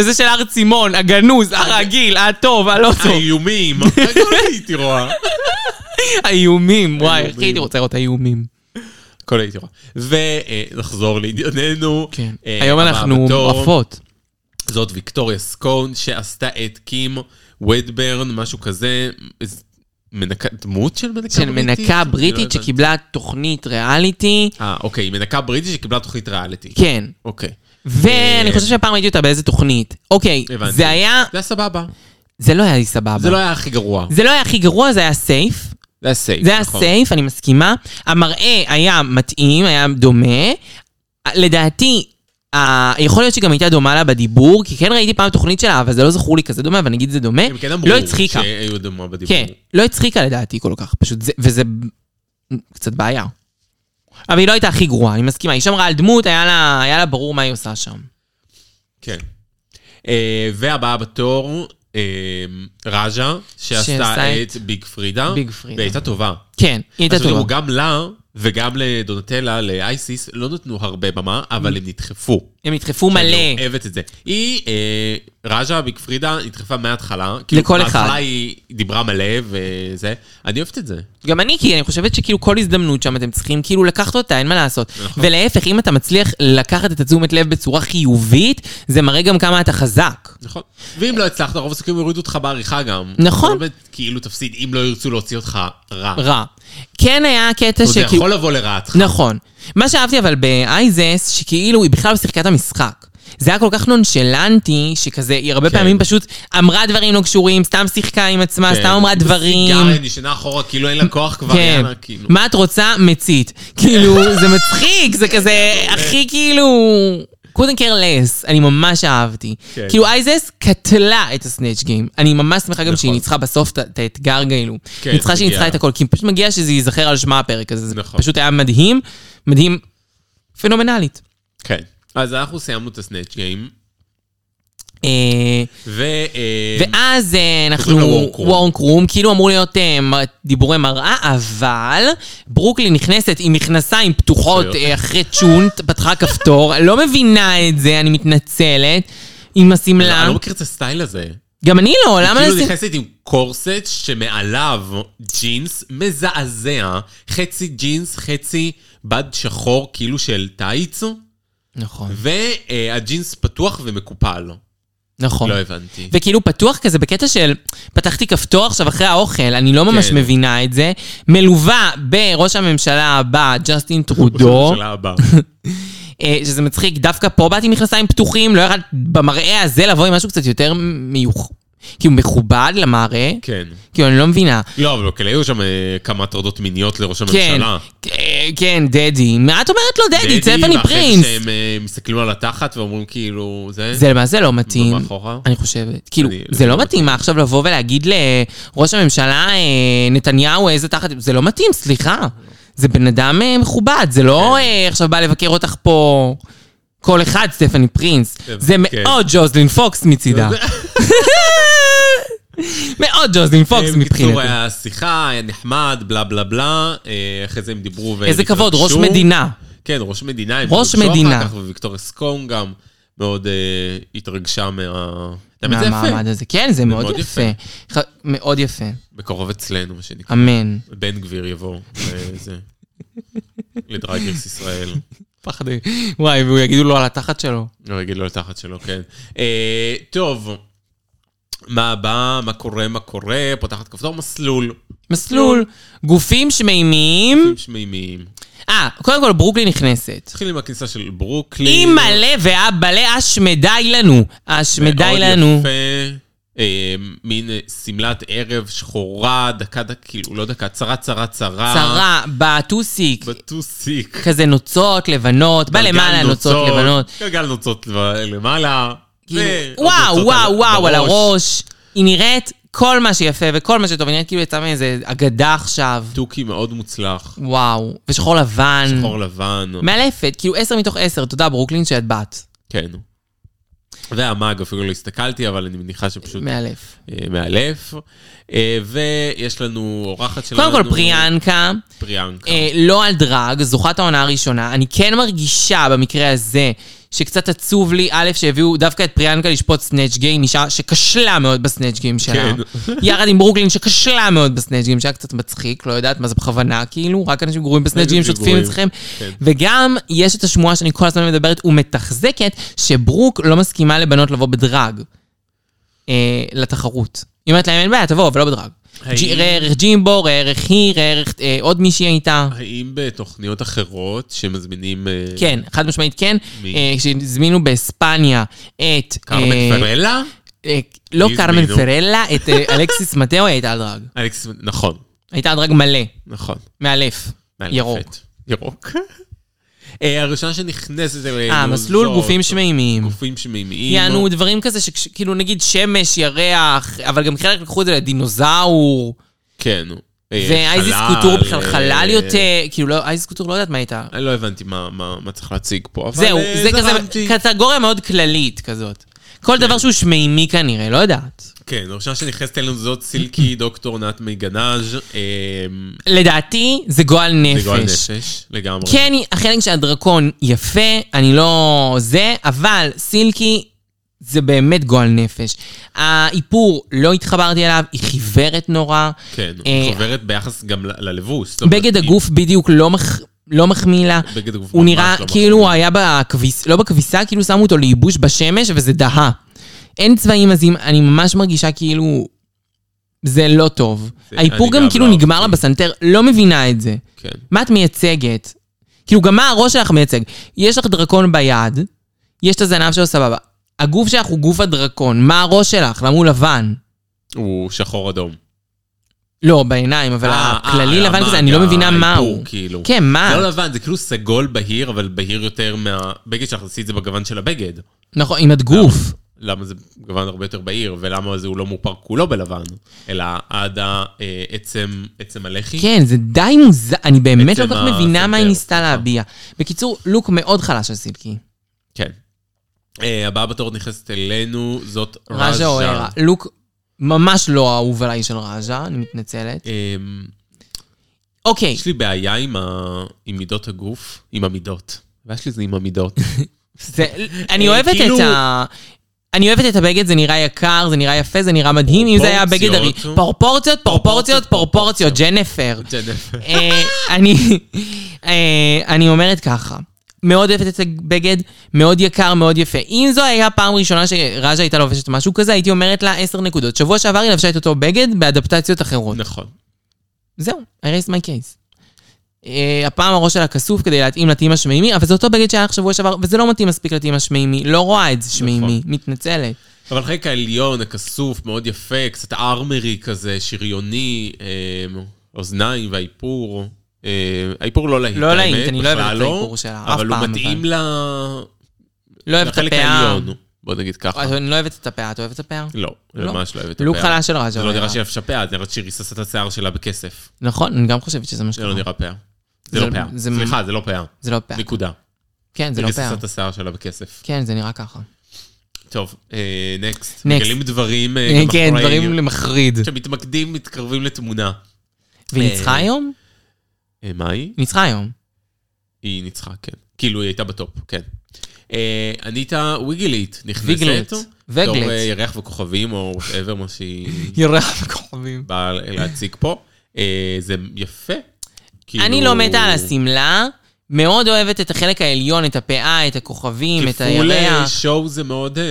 Speaker 2: את זה של הר צימון, הגנוז, הרגיל, הטוב, הלא טוב.
Speaker 3: האיומים, הכל הייתי רואה.
Speaker 2: האיומים, וואי, איך
Speaker 3: האיומים.
Speaker 2: הייתי רוצה לראות האיומים.
Speaker 3: הכל הייתי רואה. ונחזור לענייננו.
Speaker 2: כן.
Speaker 3: אה,
Speaker 2: היום
Speaker 3: הבאה
Speaker 2: אנחנו
Speaker 3: בתור,
Speaker 2: עפות.
Speaker 3: זאת ויקטוריה סקון, שעשתה את קים ודברן, משהו כזה. מנקה, דמות של מנקה בריטית?
Speaker 2: של מנקה
Speaker 3: לא
Speaker 2: בריטית
Speaker 3: הבנתי.
Speaker 2: שקיבלה תוכנית ריאליטי,
Speaker 3: אה, אוקיי, היא מנקה בריטית שקיבלה תוכנית ריאליטי.
Speaker 2: כן.
Speaker 3: אוקיי,
Speaker 2: ואני חושב שהפעם ראיתי אותה באיזה תוכנית. אוקיי,
Speaker 3: הבנתי.
Speaker 2: זה היה,
Speaker 3: זה היה סבבה.
Speaker 2: זה לא היה לי סבבה.
Speaker 3: זה לא היה הכי גרוע.
Speaker 2: זה לא היה הכי גרוע, זה היה סייף.
Speaker 3: זה היה סייף,
Speaker 2: זה היה
Speaker 3: נכון.
Speaker 2: סייף, אני מסכימה. המראה היה מתאים, היה דומה. לדעתי, ה- יכול להיות שגם הייתה דומה לה בדיבור, כי כן ראיתי פעם תוכנית שלה, אבל זה לא זכור לי כזה דומה, אבל נגיד זה דומה.
Speaker 3: הם כן אמרו
Speaker 2: לא הצחיקה.
Speaker 3: שהיו דומה בדיבור.
Speaker 2: כן, לא הצחיקה לדעתי כל כך, פשוט זה, וזה קצת בעיה. אבל היא לא הייתה הכי גרועה, אני מסכימה. היא שמרה על דמות, היה לה, היה לה ברור מה היא עושה שם.
Speaker 3: כן. אה, והבאה בתור, אה, רג'ה, שעשתה
Speaker 2: שעשה
Speaker 3: את ביג פרידה.
Speaker 2: ביג פרידה.
Speaker 3: והייתה טובה.
Speaker 2: כן, היא הייתה
Speaker 3: עכשיו תראו,
Speaker 2: טובה.
Speaker 3: גם לה וגם לדונטלה, לאייסיס, לא נתנו הרבה במה, אבל הם נדחפו.
Speaker 2: הם ידחפו
Speaker 3: אני
Speaker 2: מלא.
Speaker 3: אוהבת את זה. היא, אה, רג'ה ביג פרידה, נדחפה מההתחלה. כאילו,
Speaker 2: לכל אחד.
Speaker 3: בהתחלה היא דיברה מלא וזה. אני אוהבת את זה.
Speaker 2: גם אני, כי אני חושבת שכאילו כל הזדמנות שם אתם צריכים כאילו לקחת אותה, אין מה לעשות.
Speaker 3: נכון.
Speaker 2: ולהפך, אם אתה מצליח לקחת את התשומת לב בצורה חיובית, זה מראה גם כמה אתה חזק.
Speaker 3: נכון. ואם לא הצלחת, רוב הסיכויים יורידו אותך בעריכה גם.
Speaker 2: נכון.
Speaker 3: אתה לא באמת, כאילו תפסיד, אם לא ירצו להוציא אותך רע.
Speaker 2: רע. כן היה קטע
Speaker 3: זה
Speaker 2: שכאילו...
Speaker 3: יכול לבוא לרעתך.
Speaker 2: נכון. מה שאהבתי אבל באייזס, שכאילו היא בכלל לא שיחקה את המשחק. זה היה כל כך נונשלנטי, שכזה, היא הרבה
Speaker 3: כן.
Speaker 2: פעמים פשוט אמרה דברים לא קשורים, סתם שיחקה עם עצמה,
Speaker 3: כן.
Speaker 2: סתם אמרה דברים.
Speaker 3: סיגריה נשענה אחורה, כאילו אין לה כוח כבר,
Speaker 2: כן.
Speaker 3: יאללה, כאילו.
Speaker 2: מה את רוצה? מצית. כאילו, זה מצחיק, זה כזה הכי כאילו... couldn't care less, אני ממש אהבתי.
Speaker 3: כן.
Speaker 2: כאילו אייזס קטלה את הסנאצ' גיים. אני ממש שמחה גם שהיא
Speaker 3: נכון.
Speaker 2: ניצחה בסוף את- את האתגר כאילו.
Speaker 3: כן,
Speaker 2: ניצחה שהיא
Speaker 3: מגיע
Speaker 2: ניצחה
Speaker 3: לה.
Speaker 2: את הכל, כי פשוט מגיע שזה ייזכר על שמה הפרק הזה. זה
Speaker 3: נכון.
Speaker 2: פשוט היה מדהים, מדהים, פנומנלית.
Speaker 3: כן. אז אנחנו סיימנו את הסנאצ' גיים,
Speaker 2: אה,
Speaker 3: ו... אה,
Speaker 2: ואז אה,
Speaker 3: חוזרים
Speaker 2: אנחנו,
Speaker 3: ל-work room.
Speaker 2: וורנק רום, כאילו אמור להיות אה, מ- דיבורי מראה, אבל ברוקלי נכנסת עם מכנסיים פתוחות
Speaker 3: שטויות.
Speaker 2: אה, אחרי צ'ונט, פתחה כפתור, לא מבינה את זה, אני מתנצלת, עם
Speaker 3: אני
Speaker 2: השמלה.
Speaker 3: לא מכיר את הסטייל הזה.
Speaker 2: גם אני לא, למה...
Speaker 3: כאילו
Speaker 2: לשים-
Speaker 3: נכנסת עם קורסט שמעליו ג'ינס מזעזע, חצי ג'ינס, חצי בד שחור כאילו של טייץ,
Speaker 2: נכון,
Speaker 3: והג'ינס פתוח ומקופל.
Speaker 2: נכון.
Speaker 3: לא הבנתי.
Speaker 2: וכאילו פתוח כזה בקטע של פתחתי כפתור עכשיו אחרי האוכל, אני לא ממש
Speaker 3: כן.
Speaker 2: מבינה את זה. מלווה בראש הממשלה הבא, ג'סטין טרודו.
Speaker 3: בשלב הבא.
Speaker 2: אה, שזה מצחיק, דווקא פה באתי עם מכנסיים פתוחים, לא ירד במראה הזה לבוא עם משהו קצת יותר מיוח... כאילו מכובד למראה.
Speaker 3: כן.
Speaker 2: כאילו, אני לא מבינה.
Speaker 3: לא, אבל אוקיי, היו שם אה, כמה הטרדות מיניות לראש
Speaker 2: כן,
Speaker 3: הממשלה.
Speaker 2: אה, כן, דדי. מה את אומרת לו דדי?
Speaker 3: דדי,
Speaker 2: צפני
Speaker 3: ואחרי
Speaker 2: פרינס.
Speaker 3: שהם אה, מסתכלים על התחת ואומרים כאילו, זה...
Speaker 2: זה למעשה לא מתאים,
Speaker 3: מאחורה?
Speaker 2: אני חושבת. כאילו,
Speaker 3: אני-
Speaker 2: זה לא מתאים מה, עכשיו לבוא ולהגיד לראש הממשלה, אה, נתניהו, איזה תחת... זה לא מתאים, סליחה. זה בן אדם אה, מכובד, זה לא
Speaker 3: כן.
Speaker 2: אה, עכשיו בא לבקר אותך פה כל אחד, סטפני פרינס.
Speaker 3: כן. לא,
Speaker 2: זה מאוד ג'וזלין פוקס מצידה. מאוד ג'וזלין פוקס
Speaker 3: כן, בקיצור,
Speaker 2: מבחינתי.
Speaker 3: היה שיחה, היה נחמד, בלה בלה בלה, אה, אחרי זה הם דיברו והם
Speaker 2: איזה כבוד, ראש
Speaker 3: התרגשו.
Speaker 2: מדינה.
Speaker 3: כן, ראש מדינה. הם
Speaker 2: ראש
Speaker 3: התרגשו
Speaker 2: מדינה.
Speaker 3: אחר כך, וויקטוריה סקום גם מאוד אה, התרגשה מה... אתה מבין, זה יפה.
Speaker 2: מהמעמד הזה. כן, זה מאוד
Speaker 3: מאוד
Speaker 2: יפה. ח- מאוד יפה.
Speaker 3: בקרוב אצלנו, מה שנקרא.
Speaker 2: אמן.
Speaker 3: בן גביר יבוא לזה. לדרגרס ישראל.
Speaker 2: פחד. וואי, והוא יגידו לו על התחת שלו.
Speaker 3: לא יגיד לו לתחת שלו, כן. אה, טוב, מה הבא? מה קורה? מה קורה? פותחת כפתור מסלול.
Speaker 2: מסלול, גופים
Speaker 3: אוקיי.
Speaker 2: שמימיים.
Speaker 3: שמימיים.
Speaker 2: אה, קודם כל ברוקלי נכנסת.
Speaker 3: נתחיל עם הכניסה של ברוקלין.
Speaker 2: אימא'לה ואבא'לה, אשמדי לנו. אשמדי לנו.
Speaker 3: לא. מאוד יפה. אה, מין אה, שמלת ערב שחורה, דקה, דקה, כאילו, לא דקה, צרה, צרה, צרה.
Speaker 2: צרה, בטוסיק,
Speaker 3: בטוסיק.
Speaker 2: כזה נוצות לבנות, בא
Speaker 3: גלגל
Speaker 2: למעלה נוצות לבנות.
Speaker 3: גלגל נוצות לב- למעלה.
Speaker 2: כאילו,
Speaker 3: ועוד
Speaker 2: וואו,
Speaker 3: נוצות
Speaker 2: וואו,
Speaker 3: על-
Speaker 2: וואו, על
Speaker 3: בראש.
Speaker 2: הראש. היא נראית כל מה שיפה וכל מה שטוב, היא נראית כאילו יצאה מאיזה אגדה עכשיו.
Speaker 3: תוכי מאוד מוצלח.
Speaker 2: וואו, ושחור לבן.
Speaker 3: שחור לבן.
Speaker 2: מאלפת, כאילו עשר מתוך עשר, תודה ברוקלין שאת בת.
Speaker 3: כן. והמאג, אפילו לא הסתכלתי, אבל אני מניחה שפשוט
Speaker 2: מאלף.
Speaker 3: אה, מאלף. אה, ויש לנו אורחת שלנו.
Speaker 2: קודם כל פריאנקה,
Speaker 3: פריאנקה.
Speaker 2: אה, לא על דרג, זוכת העונה הראשונה. אני כן מרגישה במקרה הזה שקצת עצוב לי, א', שהביאו דווקא את פריאנקה לשפוט סנאצ' גיים, אישה שכשלה מאוד בסנאצ' גיים שלה.
Speaker 3: כן.
Speaker 2: יחד עם ברוקלין שכשלה מאוד בסנאצ' גיים, שהיה קצת מצחיק, לא יודעת מה זה בכוונה, כאילו, רק אנשים גרועים בסנאצ' גיים
Speaker 3: אנשים
Speaker 2: שוטפים
Speaker 3: גרועים.
Speaker 2: אצלכם.
Speaker 3: כן.
Speaker 2: וגם יש את השמועה שאני כל הזמן מדברת ומתחזקת, שברוק לא מסכימה לבנות לבוא בדרג. אה, לתחרות. היא אומרת להם, אין בעיה, תבואו, אבל לא בדרג.
Speaker 3: האם-
Speaker 2: ג'י- ראה ערך ג'ימבו, ראה ערך היא, ראה ערך אה, עוד מישהי הייתה.
Speaker 3: האם בתוכניות אחרות שמזמינים... אה,
Speaker 2: כן, חד משמעית כן.
Speaker 3: מי?
Speaker 2: אה, שהזמינו באספניה את...
Speaker 3: כרמל
Speaker 2: אה,
Speaker 3: פרלה?
Speaker 2: אה, לא
Speaker 3: הזמינו.
Speaker 2: קרמן פרלה, את אה, אלכסיס מטאו, היא הייתה על דרג.
Speaker 3: אלכס, נכון,
Speaker 2: הייתה על דרג מלא,
Speaker 3: נכון.
Speaker 2: מאלף. ירוק.
Speaker 3: מאלפת. כאילו, ירוק. אה, הראשונה שנכנסת אלינו...
Speaker 2: אה, מסלול
Speaker 3: זאת-
Speaker 2: גופים שמימיים.
Speaker 3: לא, גופים שמימיים.
Speaker 2: יענו דברים כזה שכאילו נגיד שמש, ירח, אבל גם חלק לקחו את זה לדינוזאור,
Speaker 3: כן. אה,
Speaker 2: ואייזיס
Speaker 3: חלל,
Speaker 2: קוטור בכלל
Speaker 3: אה,
Speaker 2: חלל יותר, כאילו לא, אייזיס קוטור לא יודעת מה הייתה.
Speaker 3: אני לא הבנתי מה- מה מה צריך להציג פה, אבל...
Speaker 2: זהו,
Speaker 3: אה,
Speaker 2: זה
Speaker 3: זרמתי.
Speaker 2: כזה קטגוריה מאוד כללית כזאת. כל דבר שהוא שמימי כנראה, לא יודעת.
Speaker 3: כן, הראשונה שנכנסת אלינו זאת סילקי דוקטור נת מי גנז'. אה,
Speaker 2: לדעתי זה גועל
Speaker 3: לגועל
Speaker 2: נפש.
Speaker 3: נפש, לגמרי.
Speaker 2: כן, היא- החלק של הדרקון יפה, אני לא זה, אבל סילקי זה באמת גועל נפש. האיפור, לא התחברתי אליו, היא חיוורת נורא.
Speaker 3: כן,
Speaker 2: אה,
Speaker 3: חוברת ביחס גם ל- ללבוס. זאת אומרת,
Speaker 2: בגד
Speaker 3: היא-
Speaker 2: הגוף בדיוק לא מח- לא מחמיא לה.
Speaker 3: בגד הגוף
Speaker 2: הוא
Speaker 3: ממש
Speaker 2: נראה
Speaker 3: לא
Speaker 2: כאילו הוא היה בכביסה, לא בכביסה, כאילו שמו אותו לייבוש בשמש, וזה דהה. אין צבעים, אז אם- אני ממש מרגישה כאילו... זה לא טוב.
Speaker 3: זה-
Speaker 2: האיפור
Speaker 3: אני
Speaker 2: גם
Speaker 3: גם
Speaker 2: כאילו
Speaker 3: לא
Speaker 2: נגמר לה
Speaker 3: אהבתי.
Speaker 2: בסנטר, לא מבינה את זה.
Speaker 3: כן.
Speaker 2: מה את מייצגת? כאילו, גם מה הראש שלך מייצג? יש לך דרקון ביד, יש את הזנב שלו סבבה. הגוף שלך הוא גוף הדרקון, מה הראש שלך? למה הוא לבן?
Speaker 3: הוא שחור אדום.
Speaker 2: לא, בעיניים, אבל
Speaker 3: אה,
Speaker 2: הכללי
Speaker 3: אה,
Speaker 2: לבן
Speaker 3: המאגה,
Speaker 2: כזה, אני לא מבינה מה
Speaker 3: האיפור,
Speaker 2: הוא.
Speaker 3: כאילו.
Speaker 2: כן,
Speaker 3: זה לא
Speaker 2: מה?
Speaker 3: לבן, זה כאילו סגול בהיר, אבל בהיר יותר מהבגד שלך, תעשי את זה בגוון של הבגד.
Speaker 2: נכון, עם הגוף.
Speaker 3: למה זה גוון הרבה יותר בהיר, ולמה זה הוא לא מופר כולו בלבן, אלא עד ה- אה, עצם- עצם הלחי.
Speaker 2: כן, זה די מוזר, אני באמת לא
Speaker 3: עצם
Speaker 2: כל כך מבינה מה היא
Speaker 3: הסנטר,
Speaker 2: ניסתה
Speaker 3: סליחה.
Speaker 2: להביע. בקיצור, לוק מאוד חלש של סילקי.
Speaker 3: כן. אה, הבאה בתור נכנסת אלינו, זאת
Speaker 2: ראז'ה אוהרה. לוק ממש לא האהוב עליי של ראז'ה, אני מתנצלת.
Speaker 3: אמ,
Speaker 2: אוקיי,
Speaker 3: יש לי בעיה עם ה- עם מידות הגוף, עם המידות. הבעיה שלי זה עם המידות.
Speaker 2: זה- אני
Speaker 3: אה,
Speaker 2: אוהבת
Speaker 3: כאילו-
Speaker 2: את ה... אני אוהבת את הבגד, זה נראה יקר, זה נראה יפה, זה נראה מדהים, אם זה היה הבגד הרי...
Speaker 3: פרופורציות.
Speaker 2: פרופורציות, פרופורציות,
Speaker 3: פרופורציות,
Speaker 2: פרופורציות, ג'נפר.
Speaker 3: ג'נפר.
Speaker 2: אה, אני, אה, אני אומרת ככה, מאוד אוהבת את הבגד, מאוד יקר, מאוד יפה. אם זו היה פעם ראשונה שראז'ה הייתה לובשת משהו כזה, הייתי אומרת לה 10 נקודות. שבוע שעבר היא לבשה את אותו בגד באדפטציות אחרות.
Speaker 3: נכון.
Speaker 2: זהו, I raised my case. אה, הפעם הראש שלה כסוף כדי להתאים לטעים השמימי, אבל זה אותו בגד שהיה לך שבוע שעבר, וזה לא מתאים מספיק לטעים השמימי, לא רואה את זה שמימי,
Speaker 3: נכון.
Speaker 2: מתנצלת.
Speaker 3: אבל החלק העליון, הכסוף, מאוד יפה, קצת ארמרי כזה, שריוני, אה, אוזניים והאיפור. אה, האיפור לא להיט,
Speaker 2: לא להיט,
Speaker 3: האמת,
Speaker 2: אני לא אוהבת
Speaker 3: בכלל
Speaker 2: את האיפור שלה, אף
Speaker 3: אבל הוא
Speaker 2: פעם,
Speaker 3: מתאים
Speaker 2: אבל.
Speaker 3: ל-
Speaker 2: לא אוהבת את
Speaker 3: לחלק
Speaker 2: הפאה.
Speaker 3: העליון, בוא נגיד ככה.
Speaker 2: אה, אני לא אוהבת את הפאה, את אוהבת את הפאה?
Speaker 3: לא,
Speaker 2: לא.
Speaker 3: ממש לא אוהבת את הפאה.
Speaker 2: לוק חלש של ראז'ה.
Speaker 3: זה לא
Speaker 2: אוהרה.
Speaker 3: נראה שהיא לבשה פאה, זה נראה שהיא ריססה את השיער שלה בכסף.
Speaker 2: נכון, אני גם חושבת שזה מה
Speaker 3: זה לא
Speaker 2: שקורה.
Speaker 3: נראה פאה. זה
Speaker 2: זה-
Speaker 3: לא פאה.
Speaker 2: זה-
Speaker 3: סליחה, זה לא פאה.
Speaker 2: זה לא פאה.
Speaker 3: נקודה.
Speaker 2: כן, זה
Speaker 3: היא
Speaker 2: לא פאה.
Speaker 3: ריססה את השיער שלה בכסף.
Speaker 2: כן, זה נראה ככה.
Speaker 3: טוב, נקסט.
Speaker 2: Next.
Speaker 3: מגלים דברים... אה, גם אה,
Speaker 2: כן,
Speaker 3: אחרי-
Speaker 2: דברים למחריד.
Speaker 3: כשמתמקדים, מתקרבים לתמונה.
Speaker 2: והיא ניצחה היום?
Speaker 3: אה, מה היא?
Speaker 2: ניצחה היום.
Speaker 3: היא ניצחה, כן. כאילו, היא הייתה בטופ, כן. אה, אניטה ויגילית נכנסת.
Speaker 2: ויגלט.
Speaker 3: בתור, אה,
Speaker 2: וגלט.
Speaker 3: ירח וכוכבים, או whatever מה שהיא
Speaker 2: ירח וכוכבים.
Speaker 3: באה להציג פה. אה, זה יפה. כאילו-
Speaker 2: אני לא מתה על השמלה, מאוד אוהבת את החלק העליון, את הפאה, את הכוכבים, את
Speaker 3: כפול אה,
Speaker 2: הירח.
Speaker 3: שואו זה מאוד... אה,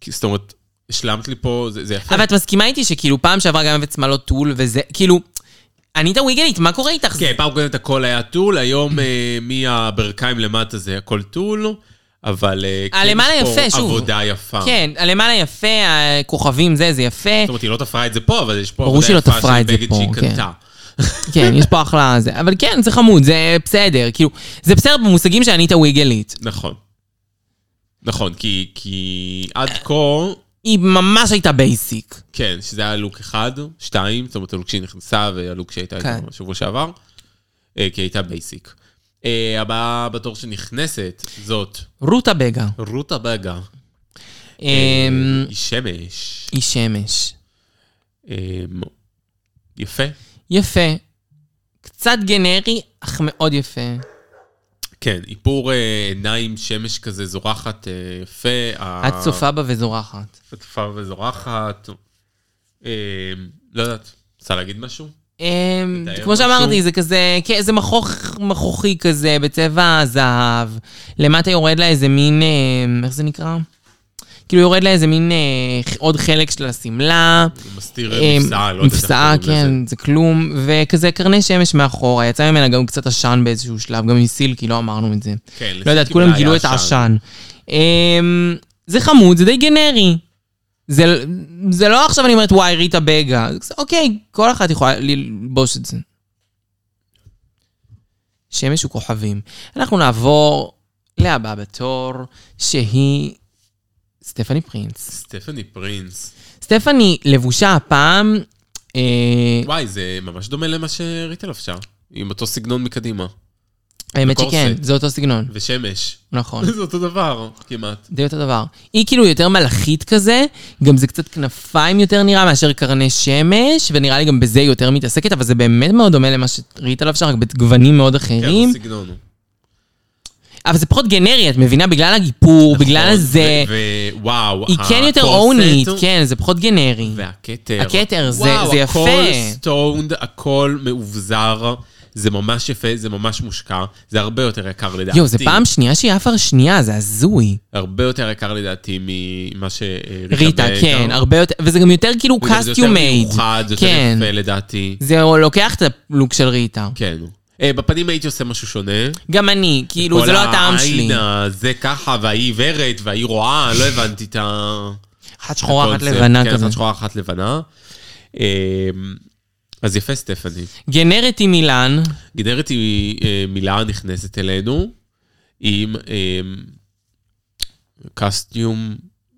Speaker 3: כי- זאת אומרת, השלמת לי פה, זה זה יפה.
Speaker 2: אבל את מסכימה איתי שכאילו פעם שעברה גם הבאת שמלות טול וזה, כאילו, ענית וויגלית, מה קורה איתך?
Speaker 3: כן, פעם קודמת הכל היה טול, היום אה, מהברכיים למטה זה הכל טול, אבל... אה, כן,
Speaker 2: הלמעלה
Speaker 3: יש פה
Speaker 2: יפה, שוב.
Speaker 3: עבודה יפה.
Speaker 2: כן, הלמעלה יפה, הכוכבים זה, זה יפה.
Speaker 3: זאת אוממת, היא לא תפרה את זה פה, אבל יש פה
Speaker 2: ברור
Speaker 3: עבודה
Speaker 2: שהיא לא
Speaker 3: יפה
Speaker 2: תפרה
Speaker 3: של
Speaker 2: את זה
Speaker 3: בגד
Speaker 2: פה,
Speaker 3: שהיא
Speaker 2: כן.
Speaker 3: קנתה.
Speaker 2: כן, יש פה אחלה זה. אבל כן, זה חמוד, זה בסדר. כאילו, זה בסדר במושגים שענית וויגלית.
Speaker 3: נכון. נכון, כי- כי עד כה,
Speaker 2: היא ממש הייתה בייסיק.
Speaker 3: כן, שזה היה לוק אחד, שתיים, זאת אומרת, הלוק שהיא נכנסה והלוק שהייתה
Speaker 2: כן.
Speaker 3: איתה בשבוע שעבר, אה, כי היא הייתה בייסיק. אה, הבאה בתור שנכנסת זאת
Speaker 2: רותה בגה.
Speaker 3: רותה בגה. אה,
Speaker 2: אמ,
Speaker 3: היא שמש.
Speaker 2: היא שמש.
Speaker 3: אמ, יפה.
Speaker 2: יפה. קצת גנרי, אך מאוד יפה.
Speaker 3: כן, איפור אה, עיניים, שמש כזה זורחת, אה, יפה.
Speaker 2: את צופה בה וזורחת.
Speaker 3: את צופה וזורחת. אמ, לא יודעת, רוצה להגיד משהו?
Speaker 2: אמ,
Speaker 3: מתאר
Speaker 2: כמו
Speaker 3: משהו?
Speaker 2: שאמרתי, זה כזה, כן, זה מכוך מכוכי כזה, בצבע זהב. למטה יורד לה איזה מין, אמ, איך זה נקרא? כאילו יורד לה איזה מין אה, עוד חלק של השמלה.
Speaker 3: הוא מסתיר
Speaker 2: אה,
Speaker 3: מפסעה, לא יודעת איך
Speaker 2: מפסעה,
Speaker 3: קוראים לזה.
Speaker 2: כן, זה כלום, וכזה קרני שמש מאחורה, יצא ממנה גם קצת עשן באיזשהו שלב, גם מסיל, כי לא אמרנו את זה.
Speaker 3: כן,
Speaker 2: לא יודעת,
Speaker 3: לסיל
Speaker 2: כולם
Speaker 3: קיבלה
Speaker 2: גילו את
Speaker 3: היה
Speaker 2: העשן. אמ, זה חמוד, זה די גנרי. זה, זה לא עכשיו אני אומרת, וואי, ריטה בגה. זה, אוקיי, כל אחת יכולה ללבוש את זה. שמש וכוכבים. אנחנו נעבור להבאה בתור, שהיא סטפני פרינס.
Speaker 3: סטפני פרינס.
Speaker 2: סטפני לבושה הפעם, אה,
Speaker 3: וואי, זה ממש דומה למה שריטה לבשה. עם אותו סגנון מקדימה.
Speaker 2: האמת
Speaker 3: בקורסט.
Speaker 2: שכן, זה אותו סגנון,
Speaker 3: ושמש.
Speaker 2: נכון.
Speaker 3: זה אותו דבר, כמעט.
Speaker 2: די אותו דבר. היא כאילו יותר מלאכית כזה, גם זה קצת כנפיים יותר נראה מאשר קרני שמש, ונראה לי גם בזה היא יותר מתעסקת, אבל זה באמת מאוד דומה למה שראית עליו שם, רק בגוונים מאוד
Speaker 3: כן,
Speaker 2: אחרים.
Speaker 3: אותו סגנון. הוא.
Speaker 2: אבל זה פחות גנרי, את מבינה? בגלל הגיפור, בגלל
Speaker 3: נכון,
Speaker 2: הזה.
Speaker 3: ו- ווואו,
Speaker 2: היא כן יותר
Speaker 3: הקורסט
Speaker 2: אונית,
Speaker 3: הוא-
Speaker 2: כן, זה פחות גנרי.
Speaker 3: והכתר.
Speaker 2: הכתר, זה-
Speaker 3: וואו,
Speaker 2: זה
Speaker 3: הכל
Speaker 2: יפה.
Speaker 3: סטונד, הכל מאובזר. זה ממש יפה, זה ממש מושקע. זה הרבה יותר יקר לדעתי.
Speaker 2: יואו, זה פעם שנייה שהיא עפה על שנייה, זה הזוי.
Speaker 3: הרבה יותר יקר לדעתי ממה אה, שריטה...
Speaker 2: ריטה, כן, הרבה יותר, וזה גם יותר כאילו
Speaker 3: זה יותר
Speaker 2: קסטיום מייד.
Speaker 3: מיוחד, זה יותר
Speaker 2: כן.
Speaker 3: יפה לדעתי.
Speaker 2: זה לוקח את הלוק של ריטה.
Speaker 3: כן. אה, בפנים הייתי עושה משהו שונה.
Speaker 2: גם אני, כאילו, זה לא הטעם שלי.
Speaker 3: כל העין הזה ככה, והיא עיוורת, והיא רואה, לא הבנתי את ה...
Speaker 2: אחת שחורה, אחת
Speaker 3: הקונספט.
Speaker 2: לבנה
Speaker 3: כן,
Speaker 2: כזה.
Speaker 3: אחת שחורה, אחת לבנה. אה, אז יפה, סטפני.
Speaker 2: גנרת עם אילן,
Speaker 3: גנרת היא אה, מילה נכנסת אלינו, עם אה, קסטיום,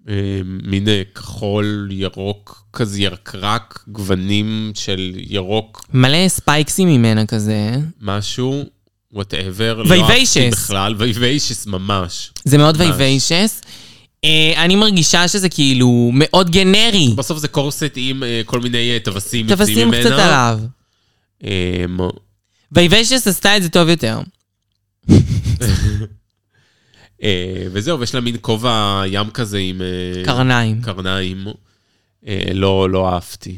Speaker 3: אה, מין אה, כחול, ירוק כזה, ירקרק, גוונים של ירוק
Speaker 2: מלא ספייקסים ממנה כזה.
Speaker 3: משהו, וואטאבר. לא אהבתי
Speaker 2: וייביישס.
Speaker 3: בכלל, וייביישס ממש.
Speaker 2: זה מאוד וייביישס. אה, אני מרגישה שזה כאילו מאוד גנרי.
Speaker 3: בסוף זה קורסט עם אה, כל מיני אה, טווסים יוצאים
Speaker 2: תפסים
Speaker 3: ממנה.
Speaker 2: קצת עליו.
Speaker 3: אה, מ-
Speaker 2: וייביישס עשתה את זה טוב יותר.
Speaker 3: אה, וזהו, ויש לה מין כובע ים כזה עם... אה,
Speaker 2: קרניים.
Speaker 3: קרניים. אה, לא, לא אהבתי.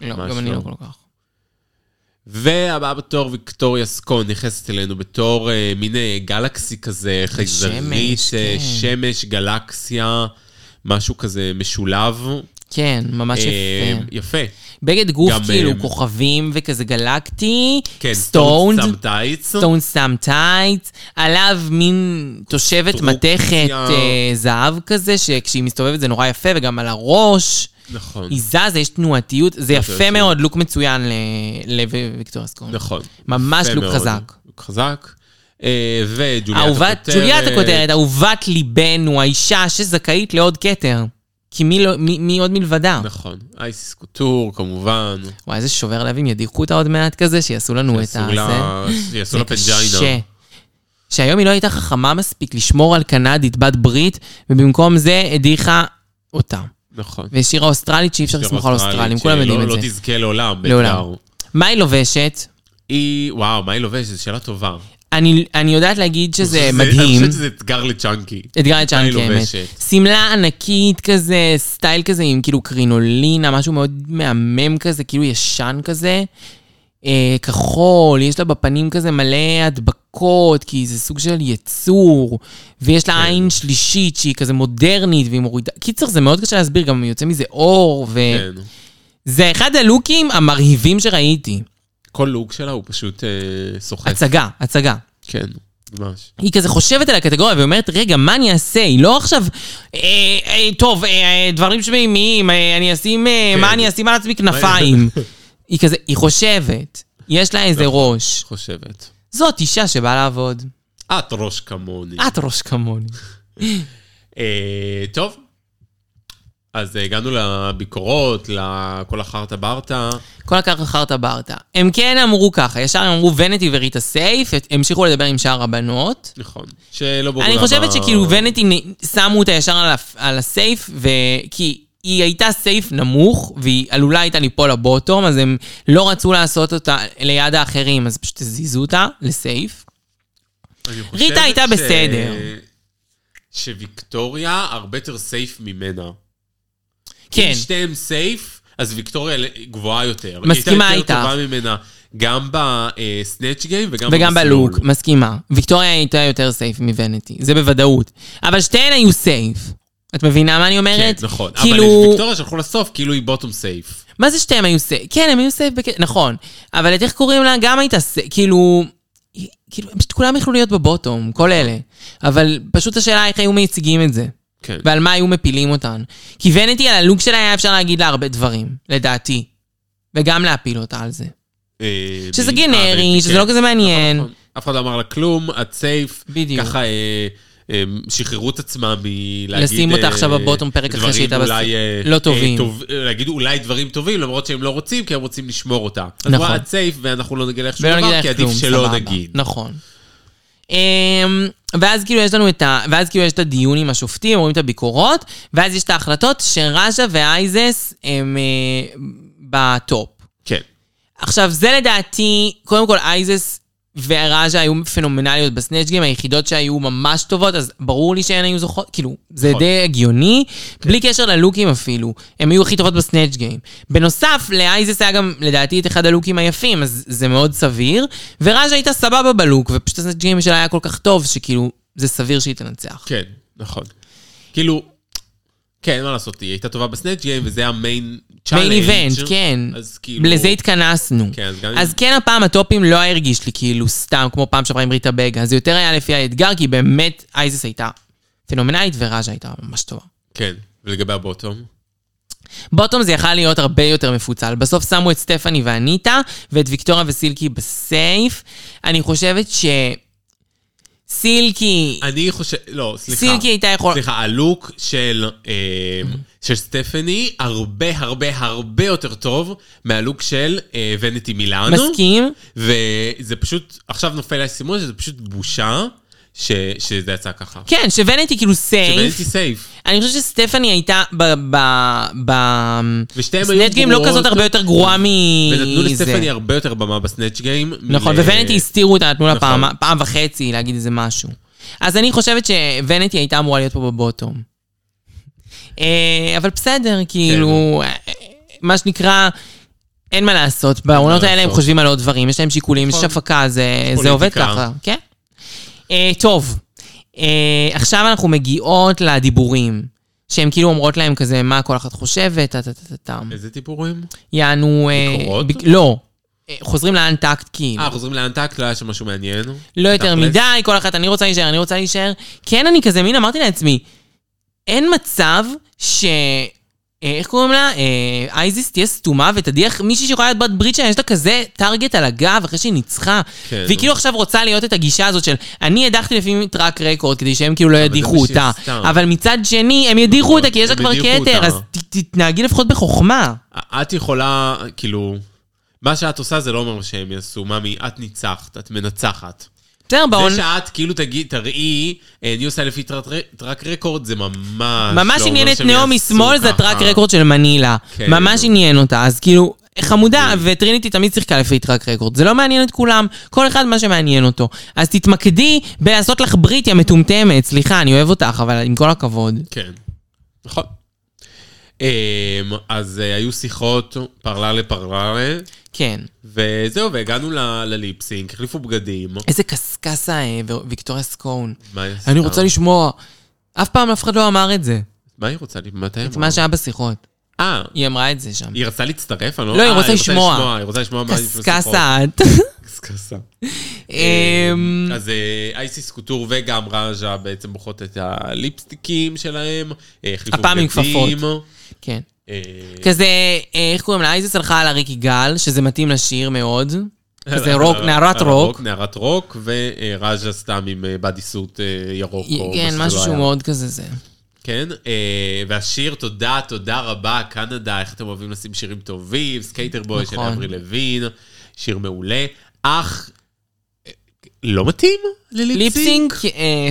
Speaker 2: לא,
Speaker 3: ממש
Speaker 2: גם אני
Speaker 3: לא.
Speaker 2: לא כל כך.
Speaker 3: והבאה בתור ויקטוריה סקון נכנסת אלינו בתור אה, מין אה, גלקסי כזה, חייזרית,
Speaker 2: שמש,
Speaker 3: אה,
Speaker 2: כן.
Speaker 3: שמש, גלקסיה, משהו כזה משולב.
Speaker 2: כן, ממש
Speaker 3: אה,
Speaker 2: יפה.
Speaker 3: יפה.
Speaker 2: בגד גוף
Speaker 3: גם,
Speaker 2: כאילו
Speaker 3: אה,
Speaker 2: כוכבים וכזה גלקטי,
Speaker 3: כן,
Speaker 2: סטונד,
Speaker 3: סטונד טייץ.
Speaker 2: סטון סאם טייט, עליו מין תושבת
Speaker 3: סטרוקציה.
Speaker 2: מתכת אה, זהב כזה, שכשהיא מסתובבת זה נורא יפה, וגם על הראש.
Speaker 3: נכון,
Speaker 2: היא זזה, יש תנועתיות, זה
Speaker 3: תנועתיות.
Speaker 2: יפה מאוד, לוק מצוין ל- לוויקטוריה סקורן.
Speaker 3: נכון.
Speaker 2: ממש
Speaker 3: יפה
Speaker 2: לוק
Speaker 3: מאוד.
Speaker 2: חזק.
Speaker 3: לוק חזק. אה, וג'וליית
Speaker 2: אהובת,
Speaker 3: הכותרת.
Speaker 2: ג'וליית הכותרת, אהובת ליבנו, האישה שזכאית לעוד כתר. כי מי, לא, מי, מי עוד מלבדה?
Speaker 3: נכון. אייסיס קוטור, כמובן.
Speaker 2: וואי, איזה שובר לב אם ידיחו אותה עוד מעט כזה, שיעשו לנו את
Speaker 3: יעשו
Speaker 2: ה... זה.
Speaker 3: לה- יעשו לה
Speaker 2: זה קשה.
Speaker 3: פנג'יינה.
Speaker 2: שהיום היא לא הייתה חכמה מספיק לשמור על קנדית בת ברית, ובמקום זה הדיחה אותה.
Speaker 3: נכון.
Speaker 2: והשאירה אוסטרלית שאי אפשר לסמוך על אוסטרלים, כולם
Speaker 3: שהיא
Speaker 2: יודעים
Speaker 3: לא-
Speaker 2: את זה.
Speaker 3: לא תזכה לעולם.
Speaker 2: לעולם.
Speaker 3: בעיקר.
Speaker 2: מה היא לובשת?
Speaker 3: היא, וואו, מה היא לובשת? זו שאלה טובה.
Speaker 2: אני, אני יודעת להגיד שזה
Speaker 3: אני
Speaker 2: מדהים. אה,
Speaker 3: חושבת שזה אתגר לצ'אנקי.
Speaker 2: אתגר
Speaker 3: מה
Speaker 2: צ'אנקי,
Speaker 3: היא
Speaker 2: האמת.
Speaker 3: לובשת?
Speaker 2: שמלה ענקית כזה, סטייל כזה עם כאילו קרינולינה, משהו מאוד מהמם כזה, כאילו ישן כזה. אה, כחול, יש לה בפנים כזה מלא הדבקות, כי זה סוג של יצור. ויש
Speaker 3: כן.
Speaker 2: לה עין שלישית שהיא כזה מודרנית והיא מורידה... קיצר, זה מאוד קשה להסביר, גם יוצא מזה אור, ו...
Speaker 3: כן.
Speaker 2: זה אחד הלוקים המרהיבים שראיתי.
Speaker 3: כל לוק שלה הוא פשוט אה, סוחף.
Speaker 2: הצגה, הצגה.
Speaker 3: כן, ממש.
Speaker 2: היא כזה חושבת על הקטגוריה ואומרת, רגע, מה אני אעשה? היא לא עכשיו, אה, אה, טוב, אה, אה, דברים שמימיים, אה, אני אשים, אה,
Speaker 3: כן.
Speaker 2: מה אני אשים על עצמי כנפיים? היא כזה, היא חושבת, יש לה איזה ראש.
Speaker 3: חושבת.
Speaker 2: זאת אישה שבאה לעבוד.
Speaker 3: את ראש כמוני.
Speaker 2: את ראש כמוני.
Speaker 3: אה, טוב. אז אה, הגענו לביקורות, לכל החרטה ברטה.
Speaker 2: כל הכך חרטה ברטה. הם כן אמרו ככה, ישר הם אמרו ונטי וריטה סייף, המשיכו לדבר עם שאר הבנות.
Speaker 3: נכון. שלא ברור
Speaker 2: אני
Speaker 3: למה-
Speaker 2: חושבת שכאילו ונטי נ- שמו אותה ישר על, ה- על הסייף, ו... כי היא הייתה סייף נמוך, והיא עלולה הייתה ליפול לבוטום, אז הם לא רצו לעשות אותה ליד האחרים, אז פשוט הזיזו אותה לסייף.
Speaker 3: אני חושבת
Speaker 2: ריטה הייתה
Speaker 3: ש-
Speaker 2: בסדר.
Speaker 3: שוויקטוריה הרבה יותר סייף ממנה.
Speaker 2: כן,
Speaker 3: אם שתיהם סייף, אז ויקטוריה גבוהה יותר.
Speaker 2: מסכימה
Speaker 3: היא הייתה יותר
Speaker 2: איתך.
Speaker 3: טובה ממנה, גם בסנאצ' גיים וגם כן,
Speaker 2: וגם
Speaker 3: במסלול.
Speaker 2: בלוק, מסכימה. ויקטוריה הייתה יותר סייף מוונטי, זה בוודאות. אבל שתיהן היו סייף. את מבינה מה אני
Speaker 3: כן,
Speaker 2: אומרת?
Speaker 3: נכון. אבל
Speaker 2: כאילו,
Speaker 3: את ויקטוריה שלחו לסוף, כאילו היא בוטום סייף.
Speaker 2: מה זה שתיהם היו סייף? כן, הם היו סייף, בק- נכון. אבל את איך קוראים לה? גם הייתה סייף, כאילו... היא- כאילו, הם פשוט כולם יכלו להיות בבוטום, כל אלה. אבל פשוט השאלה איך היו מציגים את זה.
Speaker 3: כן.
Speaker 2: ועל מה היו מפילים אותן. כי ונטי על הלוק שלה היה אפשר להגיד לה הרבה דברים, לדעתי. וגם להפיל אותה על זה.
Speaker 3: אה,
Speaker 2: שזה
Speaker 3: ב-
Speaker 2: גנרי,
Speaker 3: אה,
Speaker 2: שזה
Speaker 3: כן.
Speaker 2: לא כזה מעניין.
Speaker 3: נכון. אף אחד לא אמר לה כלום, את סייף.
Speaker 2: בדיוק.
Speaker 3: ככה אה, אה, שחררו את עצמם מלהגיד... אה,
Speaker 2: לשים אותה עכשיו בבוטום פרק אחרי שהייתה בס-
Speaker 3: בס...
Speaker 2: לא טובים.
Speaker 3: אה, להגיד אולי דברים טובים, למרות שהם לא רוצים, כי הם רוצים לשמור אותה. אז
Speaker 2: נכון.
Speaker 3: נכון. את סייף, ואנחנו לא נגלה לך שום
Speaker 2: ולא נגיד
Speaker 3: דבר,
Speaker 2: לך
Speaker 3: כי עדיף
Speaker 2: כלום,
Speaker 3: שלא
Speaker 2: סבבה.
Speaker 3: נגיד.
Speaker 2: נכון. אמ, ואז כאילו יש לנו את ה... ואז כאילו יש את הדיון עם השופטים, רואים את הביקורות, ואז יש את ההחלטות שראז'ה ואייזס הם אה, בטופ.
Speaker 3: כן.
Speaker 2: עכשיו, זה לדעתי, קודם כל אייזס וראז'ה היו פנומנליות בסנאצ' גיים, היחידות שהיו ממש טובות, אז ברור לי שהן היו זוכות, כאילו, זה
Speaker 3: נכון. כן.
Speaker 2: די הגיוני, בלי קשר ללוקים אפילו, הן היו הכי טובות בסנאצ' גיים. בנוסף, לאייזס היה גם, לדעתי, את אחד הלוקים היפים, אז זה מאוד סביר, וראז'ה הייתה סבבה בלוק, ופשוט הסנאצ' גיים שלה היה כל כך טוב, שכאילו, זה סביר שהיא תנצח.
Speaker 3: כן, נכון. כאילו, כן, אין מה לעשות, היא הייתה טובה בסנאצ' גיים, וזה המיין צ'אלנג'.
Speaker 2: מיין איבנט, כן.
Speaker 3: אז כאילו...
Speaker 2: לזה התכנסנו.
Speaker 3: כן, אז גם
Speaker 2: אז
Speaker 3: אם-
Speaker 2: כן, הפעם הטופים לא הרגיש לי כאילו סתם, כמו פעם שעברה עם ריטה בגה. זה יותר היה לפי האתגר, כי באמת אייזס הייתה פנומנלית וראז'ה הייתה ממש טובה.
Speaker 3: כן, ולגבי הבוטום?
Speaker 2: בוטום זה יכל להיות הרבה יותר מפוצל. בסוף שמו את סטפני ואניטה, ואת ויקטוריה וסילקי בסייף. אני חושבת ש... סילקי...
Speaker 3: אני חושב, לא, סליחה.
Speaker 2: סילקי הייתה יכולה...
Speaker 3: סליחה, הלוק של, אה, של סטפני הרבה הרבה הרבה יותר טוב מהלוק של אה, ונטי מילאנו.
Speaker 2: מסכים?
Speaker 3: וזה פשוט, עכשיו נופל לי האסימון שזה פשוט בושה ש, שזה יצא ככה.
Speaker 2: כן, שוונטי כאילו סייף.
Speaker 3: שוונטי סייף.
Speaker 2: אני חושבת שסטפני הייתה ב... ב... ב...
Speaker 3: ושתיהם היו
Speaker 2: סנאצ' גיים לא
Speaker 3: גרועות.
Speaker 2: כזאת הרבה יותר גרועה מזה.
Speaker 3: ונתנו לסטפני הרבה יותר במה בסנאצ' גיים.
Speaker 2: נכון,
Speaker 3: מ-
Speaker 2: וונטי הסתירו אותה, נתנו לה
Speaker 3: נכון.
Speaker 2: פעם, פעם וחצי להגיד איזה משהו. אז אני חושבת שוונטי הייתה אמורה להיות פה בבוטום. אה, אבל בסדר, כאילו,
Speaker 3: כן.
Speaker 2: אה, מה שנקרא, אין מה לעשות. בעונות האלה הם
Speaker 3: לעשות.
Speaker 2: חושבים על עוד דברים, יש להם שיקולים, יש
Speaker 3: נכון.
Speaker 2: הפקה, זה,
Speaker 3: יש
Speaker 2: זה עובד
Speaker 3: פוליטיקה.
Speaker 2: ככה. כן. אה, טוב, אה, עכשיו אנחנו מגיעות לדיבורים, שהן כאילו אומרות להם כזה, מה כל אחת חושבת, טה טה טה טה טם.
Speaker 3: איזה דיבורים?
Speaker 2: יענו... אה,
Speaker 3: ביקורות?
Speaker 2: ביק- לא. אה, חוזרים לאנטקט כאילו.
Speaker 3: אה, חוזרים לאנטקט, לא היה שם משהו מעניין.
Speaker 2: לא יותר
Speaker 3: תכלס.
Speaker 2: מדי, כל אחת, אני רוצה להישאר, אני רוצה להישאר. כן, אני כזה מין אמרתי לעצמי, אין מצב ש... אה, איך קוראים לה? אה, אייזיס תהיה סתומה ותדיח מישהי שיכולה להיות בת ברית שלה, יש לה כזה טארגט על הגב אחרי שהיא ניצחה.
Speaker 3: כן.
Speaker 2: והיא כאילו עכשיו רוצה להיות את הגישה הזאת של אני הדחתי לפעמים את רק רקורד כדי שהם כאילו לא ידיחו
Speaker 3: זה בשביל
Speaker 2: אותה.
Speaker 3: סתם. נכון,
Speaker 2: אבל מצד שני, הם ידיחו אותה כי יש לה
Speaker 3: הם
Speaker 2: כבר
Speaker 3: ידיחו
Speaker 2: כתר,
Speaker 3: אותה.
Speaker 2: אז ת- תתנהגי לפחות בחוכמה.
Speaker 3: את יכולה, כאילו, מה שאת עושה זה לא אומר שהם יעשו, ממי, את ניצחת, את מנצחת.
Speaker 2: בסדר, בעונה...
Speaker 3: זה שאת כאילו תגיד, תראי, אה, אני עושה לפי טרק- טרק רקורד, זה ממש...
Speaker 2: ממש
Speaker 3: לא
Speaker 2: עניין
Speaker 3: אומר
Speaker 2: את
Speaker 3: שהם
Speaker 2: נאו
Speaker 3: יעשו
Speaker 2: משמאל, זה
Speaker 3: ככה.
Speaker 2: טראק רקורד של מנילה.
Speaker 3: כן.
Speaker 2: ממש עניין אותה, אז כאילו... חמודה, וטריניטי תמיד שיחקה לפי טראק רקורד. זה לא מעניין את כולם, כל אחד מה שמעניין אותו. אז תתמקדי בלעשות לך ברית, יא מטומטמת. סליחה, אני אוהב אותך, אבל עם כל הכבוד.
Speaker 3: כן, נכון. אה, אז אה, היו שיחות פרלה לפרלה,
Speaker 2: כן.
Speaker 3: וזהו, והגענו ל- לליפסינק, החליפו בגדים.
Speaker 2: איזה קסקסה אה, ו- ויקטוריה סקון.
Speaker 3: מה היא עשתה?
Speaker 2: אני רוצה לשמוע. אף פעם אף אחד לא אמר את זה.
Speaker 3: מה היא רוצה? מתי
Speaker 2: את מה שהיה בשיחות.
Speaker 3: אה,
Speaker 2: היא אמרה את זה שם.
Speaker 3: היא רצתה להצטרף? אני
Speaker 2: לא, היא
Speaker 3: אה,
Speaker 2: רוצה לשמוע.
Speaker 3: היא רוצה לשמוע מה היא לפני שיחות.
Speaker 2: קסקסה את.
Speaker 3: קסקסה.
Speaker 2: אמ,
Speaker 3: אז אה, אייסיס קוטור וגם ראז'ה בעצם בוכות את הליפסטיקים שלהם. אה, החליפו
Speaker 2: הפעם עם
Speaker 3: בגדים,
Speaker 2: כן.
Speaker 3: אה,
Speaker 2: כזה, אה, איך קוראים לה? אייזס הלכה על אריק יגאל, שזה מתאים לשיר מאוד. כזה כן,
Speaker 3: לא,
Speaker 2: רוק, נערת רוק.
Speaker 3: נערת רוק, וראז'ה סתם עם אה, בדיסות אה, ירוק. או
Speaker 2: כן,
Speaker 3: שזה
Speaker 2: משהו
Speaker 3: לא
Speaker 2: שהוא
Speaker 3: היה.
Speaker 2: מאוד כזה זה.
Speaker 3: כן, אה, והשיר תודה, תודה רבה, קנדה, איך אתם אוהבים לשים שירים טובים, סקייטר בוי של
Speaker 2: נכון.
Speaker 3: אברי לוין, שיר מעולה. אך, אה, לא מתאים לליפסינג?
Speaker 2: ליפסינק אה,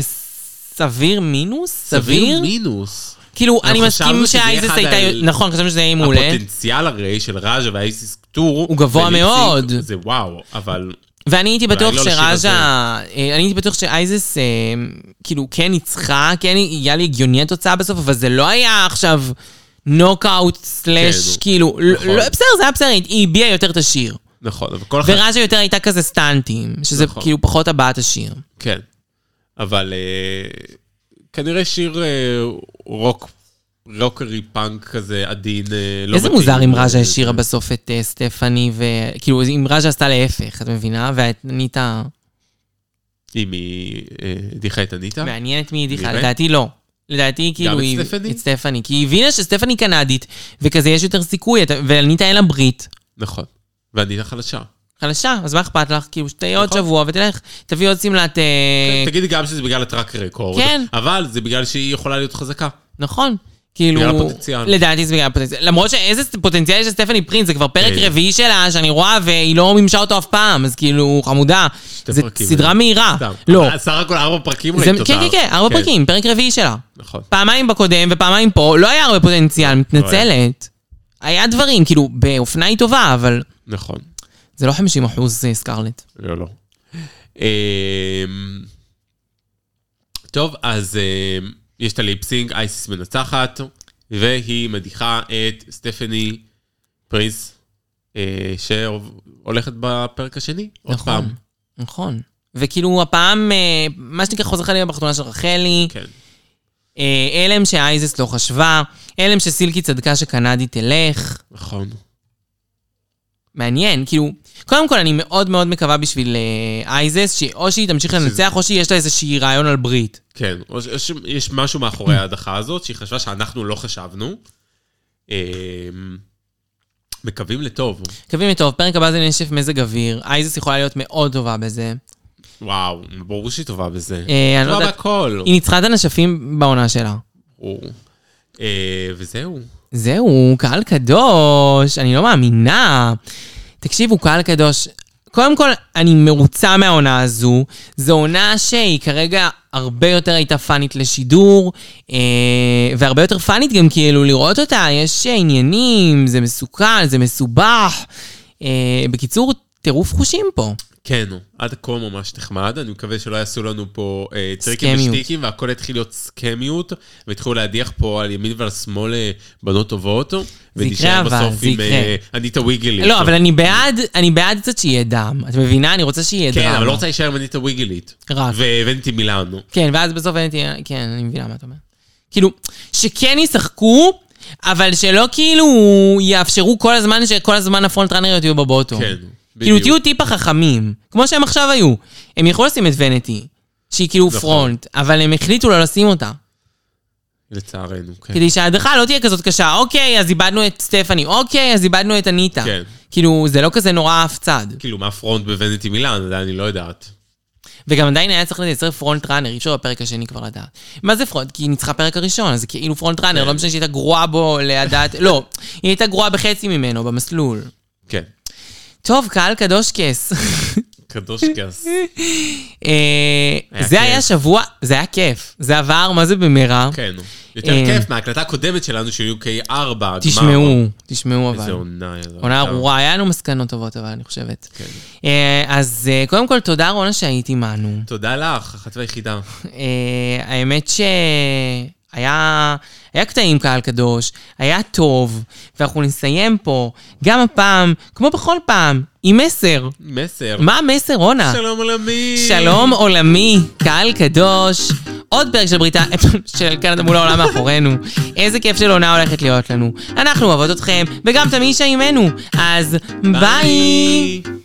Speaker 2: סביר מינוס? סביר?
Speaker 3: מינוס.
Speaker 2: כאילו,
Speaker 3: אנחנו
Speaker 2: אני מסכים
Speaker 3: חשבנו שזה יהיה
Speaker 2: שאייזס
Speaker 3: אחד
Speaker 2: הייתה...
Speaker 3: ה-
Speaker 2: נכון, חשבנו שזה יהיה מעולה.
Speaker 3: הפוטנציאל הרי של ראז'ה והאיסיס קטור.
Speaker 2: הוא גבוה
Speaker 3: בליפסינק
Speaker 2: מאוד.
Speaker 3: זה וואו, אבל
Speaker 2: ואני הייתי
Speaker 3: אולי
Speaker 2: בטוח
Speaker 3: לא לשיר
Speaker 2: שראז'ה... אה, אני הייתי בטוח שאייזס אה, כאילו כן ניצחה, כן היה לי הגיוני התוצאה בסוף, אבל זה לא היה עכשיו נוקאוט סלאש,
Speaker 3: כן,
Speaker 2: כאילו... לא-
Speaker 3: נכון.
Speaker 2: לא, בסדר, זה היה בסדר, היא- היא הביעה יותר את השיר.
Speaker 3: נכון, אבל כל אחד...
Speaker 2: וראז'ה יותר הייתה כזה סטנטים, שזה
Speaker 3: נכון.
Speaker 2: כאילו פחות הבעת השיר.
Speaker 3: כן. אבל אה, כנראה שיר אה, רוק, רוקרי פאנק כזה עדין, אה, לא
Speaker 2: איזה
Speaker 3: מתאים.
Speaker 2: מוזר אם ראז'ה השאירה בסוף את אה, סטפני, וכאילו, אם ראז'ה עשתה להפך, את מבינה? והניטה...
Speaker 3: כן. אם היא אה, הדיחה את אניטה?
Speaker 2: מעניין את מי היא הדיחה,
Speaker 3: נראה.
Speaker 2: לדעתי לא. לדעתי כאילו
Speaker 3: את
Speaker 2: היא...
Speaker 3: סטפני?
Speaker 2: את סטפני? כי היא הבינה שסטפני קנדית, וכזה יש יותר סיכוי, אתה- ואניטה אין לה ברית.
Speaker 3: נכון. ואניטה חלשה.
Speaker 2: חלשה, אז מה אכפת לך? כאילו, שתהיה עוד
Speaker 3: נכון. כן,
Speaker 2: שבוע ותלך, תביא עוד שמלת... אה,
Speaker 3: תגידי גם שזה בגלל הטראק רקורד.
Speaker 2: כן.
Speaker 3: אבל זה בגלל שהיא יכולה להיות חזקה.
Speaker 2: נכון. כאילו...
Speaker 3: בגלל הפוטנציאל.
Speaker 2: לדעתי זה בגלל הפוטנציאל. למרות שאיזה פוטנציאל יש לסטפני פרינס, זה כבר פרק
Speaker 3: אה.
Speaker 2: רביעי שלה שאני רואה והיא לא מימשה אותו אף פעם, אז כאילו, חמודה. זו
Speaker 3: פרקים. אה?
Speaker 2: סדרה מהירה.
Speaker 3: סתם.
Speaker 2: לא.
Speaker 3: אבל סך הכל ארבע פרקים
Speaker 2: זה-
Speaker 3: ראית אותה.
Speaker 2: כן, כן, כן, ארבע פרקים, פרק רביעי שלה.
Speaker 3: נכון.
Speaker 2: פעמיים בקודם ופעמיים פה, לא היה הרבה פוטנציאל, מתנצלת. היה דברים, כאילו, באופנה היא טובה, אבל
Speaker 3: נכון.
Speaker 2: זה לא 50 אחוז סקרלט.
Speaker 3: לא, לא. אמ, טוב, אז אמ, יש את הליפסינג, אייסיס מנצחת, והיא מדיחה את סטפני פריס, אה, שהולכת בפרק השני. עוד
Speaker 2: נכון.
Speaker 3: פעם.
Speaker 2: נכון. וכאילו, הפעם, אה, מה שנקרא חוזר חלילה בחתונה של רחלי,
Speaker 3: כן.
Speaker 2: אה, הלם שאייזס לא חשבה, הלם שסילקי צדקה שקנדי תלך.
Speaker 3: נכון.
Speaker 2: מעניין, כאילו, קודם כל אני מאוד מאוד מקווה בשביל אה, אייזס, שאו שהיא תמשיך לנצח, או שיש לה איזשהי רעיון על ברית.
Speaker 3: כן, או שיש- יש משהו מאחורי ההדחה הזאת, שהיא חשבה שאנחנו לא חשבנו. אמ, מקווים לטוב.
Speaker 2: מקווים לטוב, פרק הבא זה נשף מזג אוויר, אייזס יכולה להיות מאוד טובה בזה.
Speaker 3: וואו, ברור שהיא טובה בזה.
Speaker 2: אה, אני לא
Speaker 3: טובה
Speaker 2: יודעת-
Speaker 3: בהכל.
Speaker 2: היא ניצחה את הנשפים בעונה שלה.
Speaker 3: ברור. אה, וזהו.
Speaker 2: זהו, קהל קדוש, אני לא מאמינה. תקשיבו, קהל קדוש, קודם כל, אני מרוצה מהעונה הזו. זו עונה שהיא כרגע הרבה יותר הייתה פאנית לשידור, אה, והרבה יותר פאנית גם כאילו לראות אותה, יש עניינים, זה מסוכן, זה מסובך. אה, בקיצור, טירוף חושים פה.
Speaker 3: כן, עד הכל ממש נחמד, אני מקווה שלא יעשו לנו פה אה, טריקים
Speaker 2: סקמיות.
Speaker 3: ושטיקים והכל יתחיל להיות סקמיות, והתחילו להדיח פה על ימין ועל שמאל אה, בנות טובות, ונשאר
Speaker 2: יקרה, אבל,
Speaker 3: בסוף
Speaker 2: זה
Speaker 3: עם אה,
Speaker 2: יקרה.
Speaker 3: אניטה ויגלית.
Speaker 2: לא, אבל אני בעד, אני בעד קצת שיהיה דם. את מבינה? אני רוצה שיהיה דם.
Speaker 3: כן, אבל לא רוצה להישאר עם אניטה ויגלית.
Speaker 2: רק.
Speaker 3: והבנתי מילאנו.
Speaker 2: כן, ואז בסוף אין תהיה... כן, אני מבינה מה את אומרת. כאילו, שכן ישחקו, אבל שלא כאילו יאפשרו כל הזמן שכל הזמן הפרונט ראנריות יהיו בבוטום.
Speaker 3: כן,
Speaker 2: כאילו,
Speaker 3: בדיוק.
Speaker 2: תהיו טיפה חכמים, כמו שהם עכשיו היו. הם יכלו לשים את ונטי, שהיא כאילו
Speaker 3: נכון. כן.
Speaker 2: פרונט, אבל הם החליטו לא לשים אותה.
Speaker 3: לצערנו, כן.
Speaker 2: כדי שההדחה לא תהיה כזאת קשה. אוקיי, אז איבדנו את סטפני, אוקיי, אז איבדנו את אניטה.
Speaker 3: כן.
Speaker 2: כאילו, זה לא כזה נורא אף צד.
Speaker 3: כאילו, מה הפרונט בוונטי מילאן, זה אני לא יודעת.
Speaker 2: וגם עדיין היה צריך לייצר פרונט ראנר, אי אפשר בפרק השני כבר לדעת. מה זה פרונט? כי היא ניצחה פרק הראשון, אז זה כאילו פרונט
Speaker 3: כן.
Speaker 2: ראנר, לא משנה שהיא הייתה גרועה בו לידעת, לא, היא הייתה גרועה בחצי ממנו, במסלול.
Speaker 3: כן.
Speaker 2: טוב, קהל קדוש כס.
Speaker 3: קדוש גס.
Speaker 2: אה,
Speaker 3: היה
Speaker 2: זה
Speaker 3: כיף.
Speaker 2: היה שבוע, זה היה כיף. זה עבר, מה זה במהרה?
Speaker 3: כן. יותר
Speaker 2: אה.
Speaker 3: כיף מההקלטה הקודמת שלנו של UK 4.
Speaker 2: תשמעו, תשמעו אבל.
Speaker 3: איזה עונה. איזה
Speaker 2: עונה ארורה, היה לנו מסקנות טובות, אבל אני חושבת.
Speaker 3: כן.
Speaker 2: אה, אז אה, קודם כל, תודה רונה שהיית עמנו.
Speaker 3: תודה לך, אחת והיחידה.
Speaker 2: אה, האמת שהיה היה קטעים קהל קדוש, היה טוב, ואנחנו נסיים פה, גם הפעם, כמו בכל פעם, עם מסר.
Speaker 3: מסר.
Speaker 2: מה המסר, רונה?
Speaker 3: שלום עולמי.
Speaker 2: שלום עולמי, קהל קדוש. עוד פרק של בריטה, של קנדה מול העולם מאחורינו. איזה כיף של עונה הולכת להיות לנו. אנחנו אוהבות אתכם, וגם את המי שעימנו. אז ביי.
Speaker 3: ביי.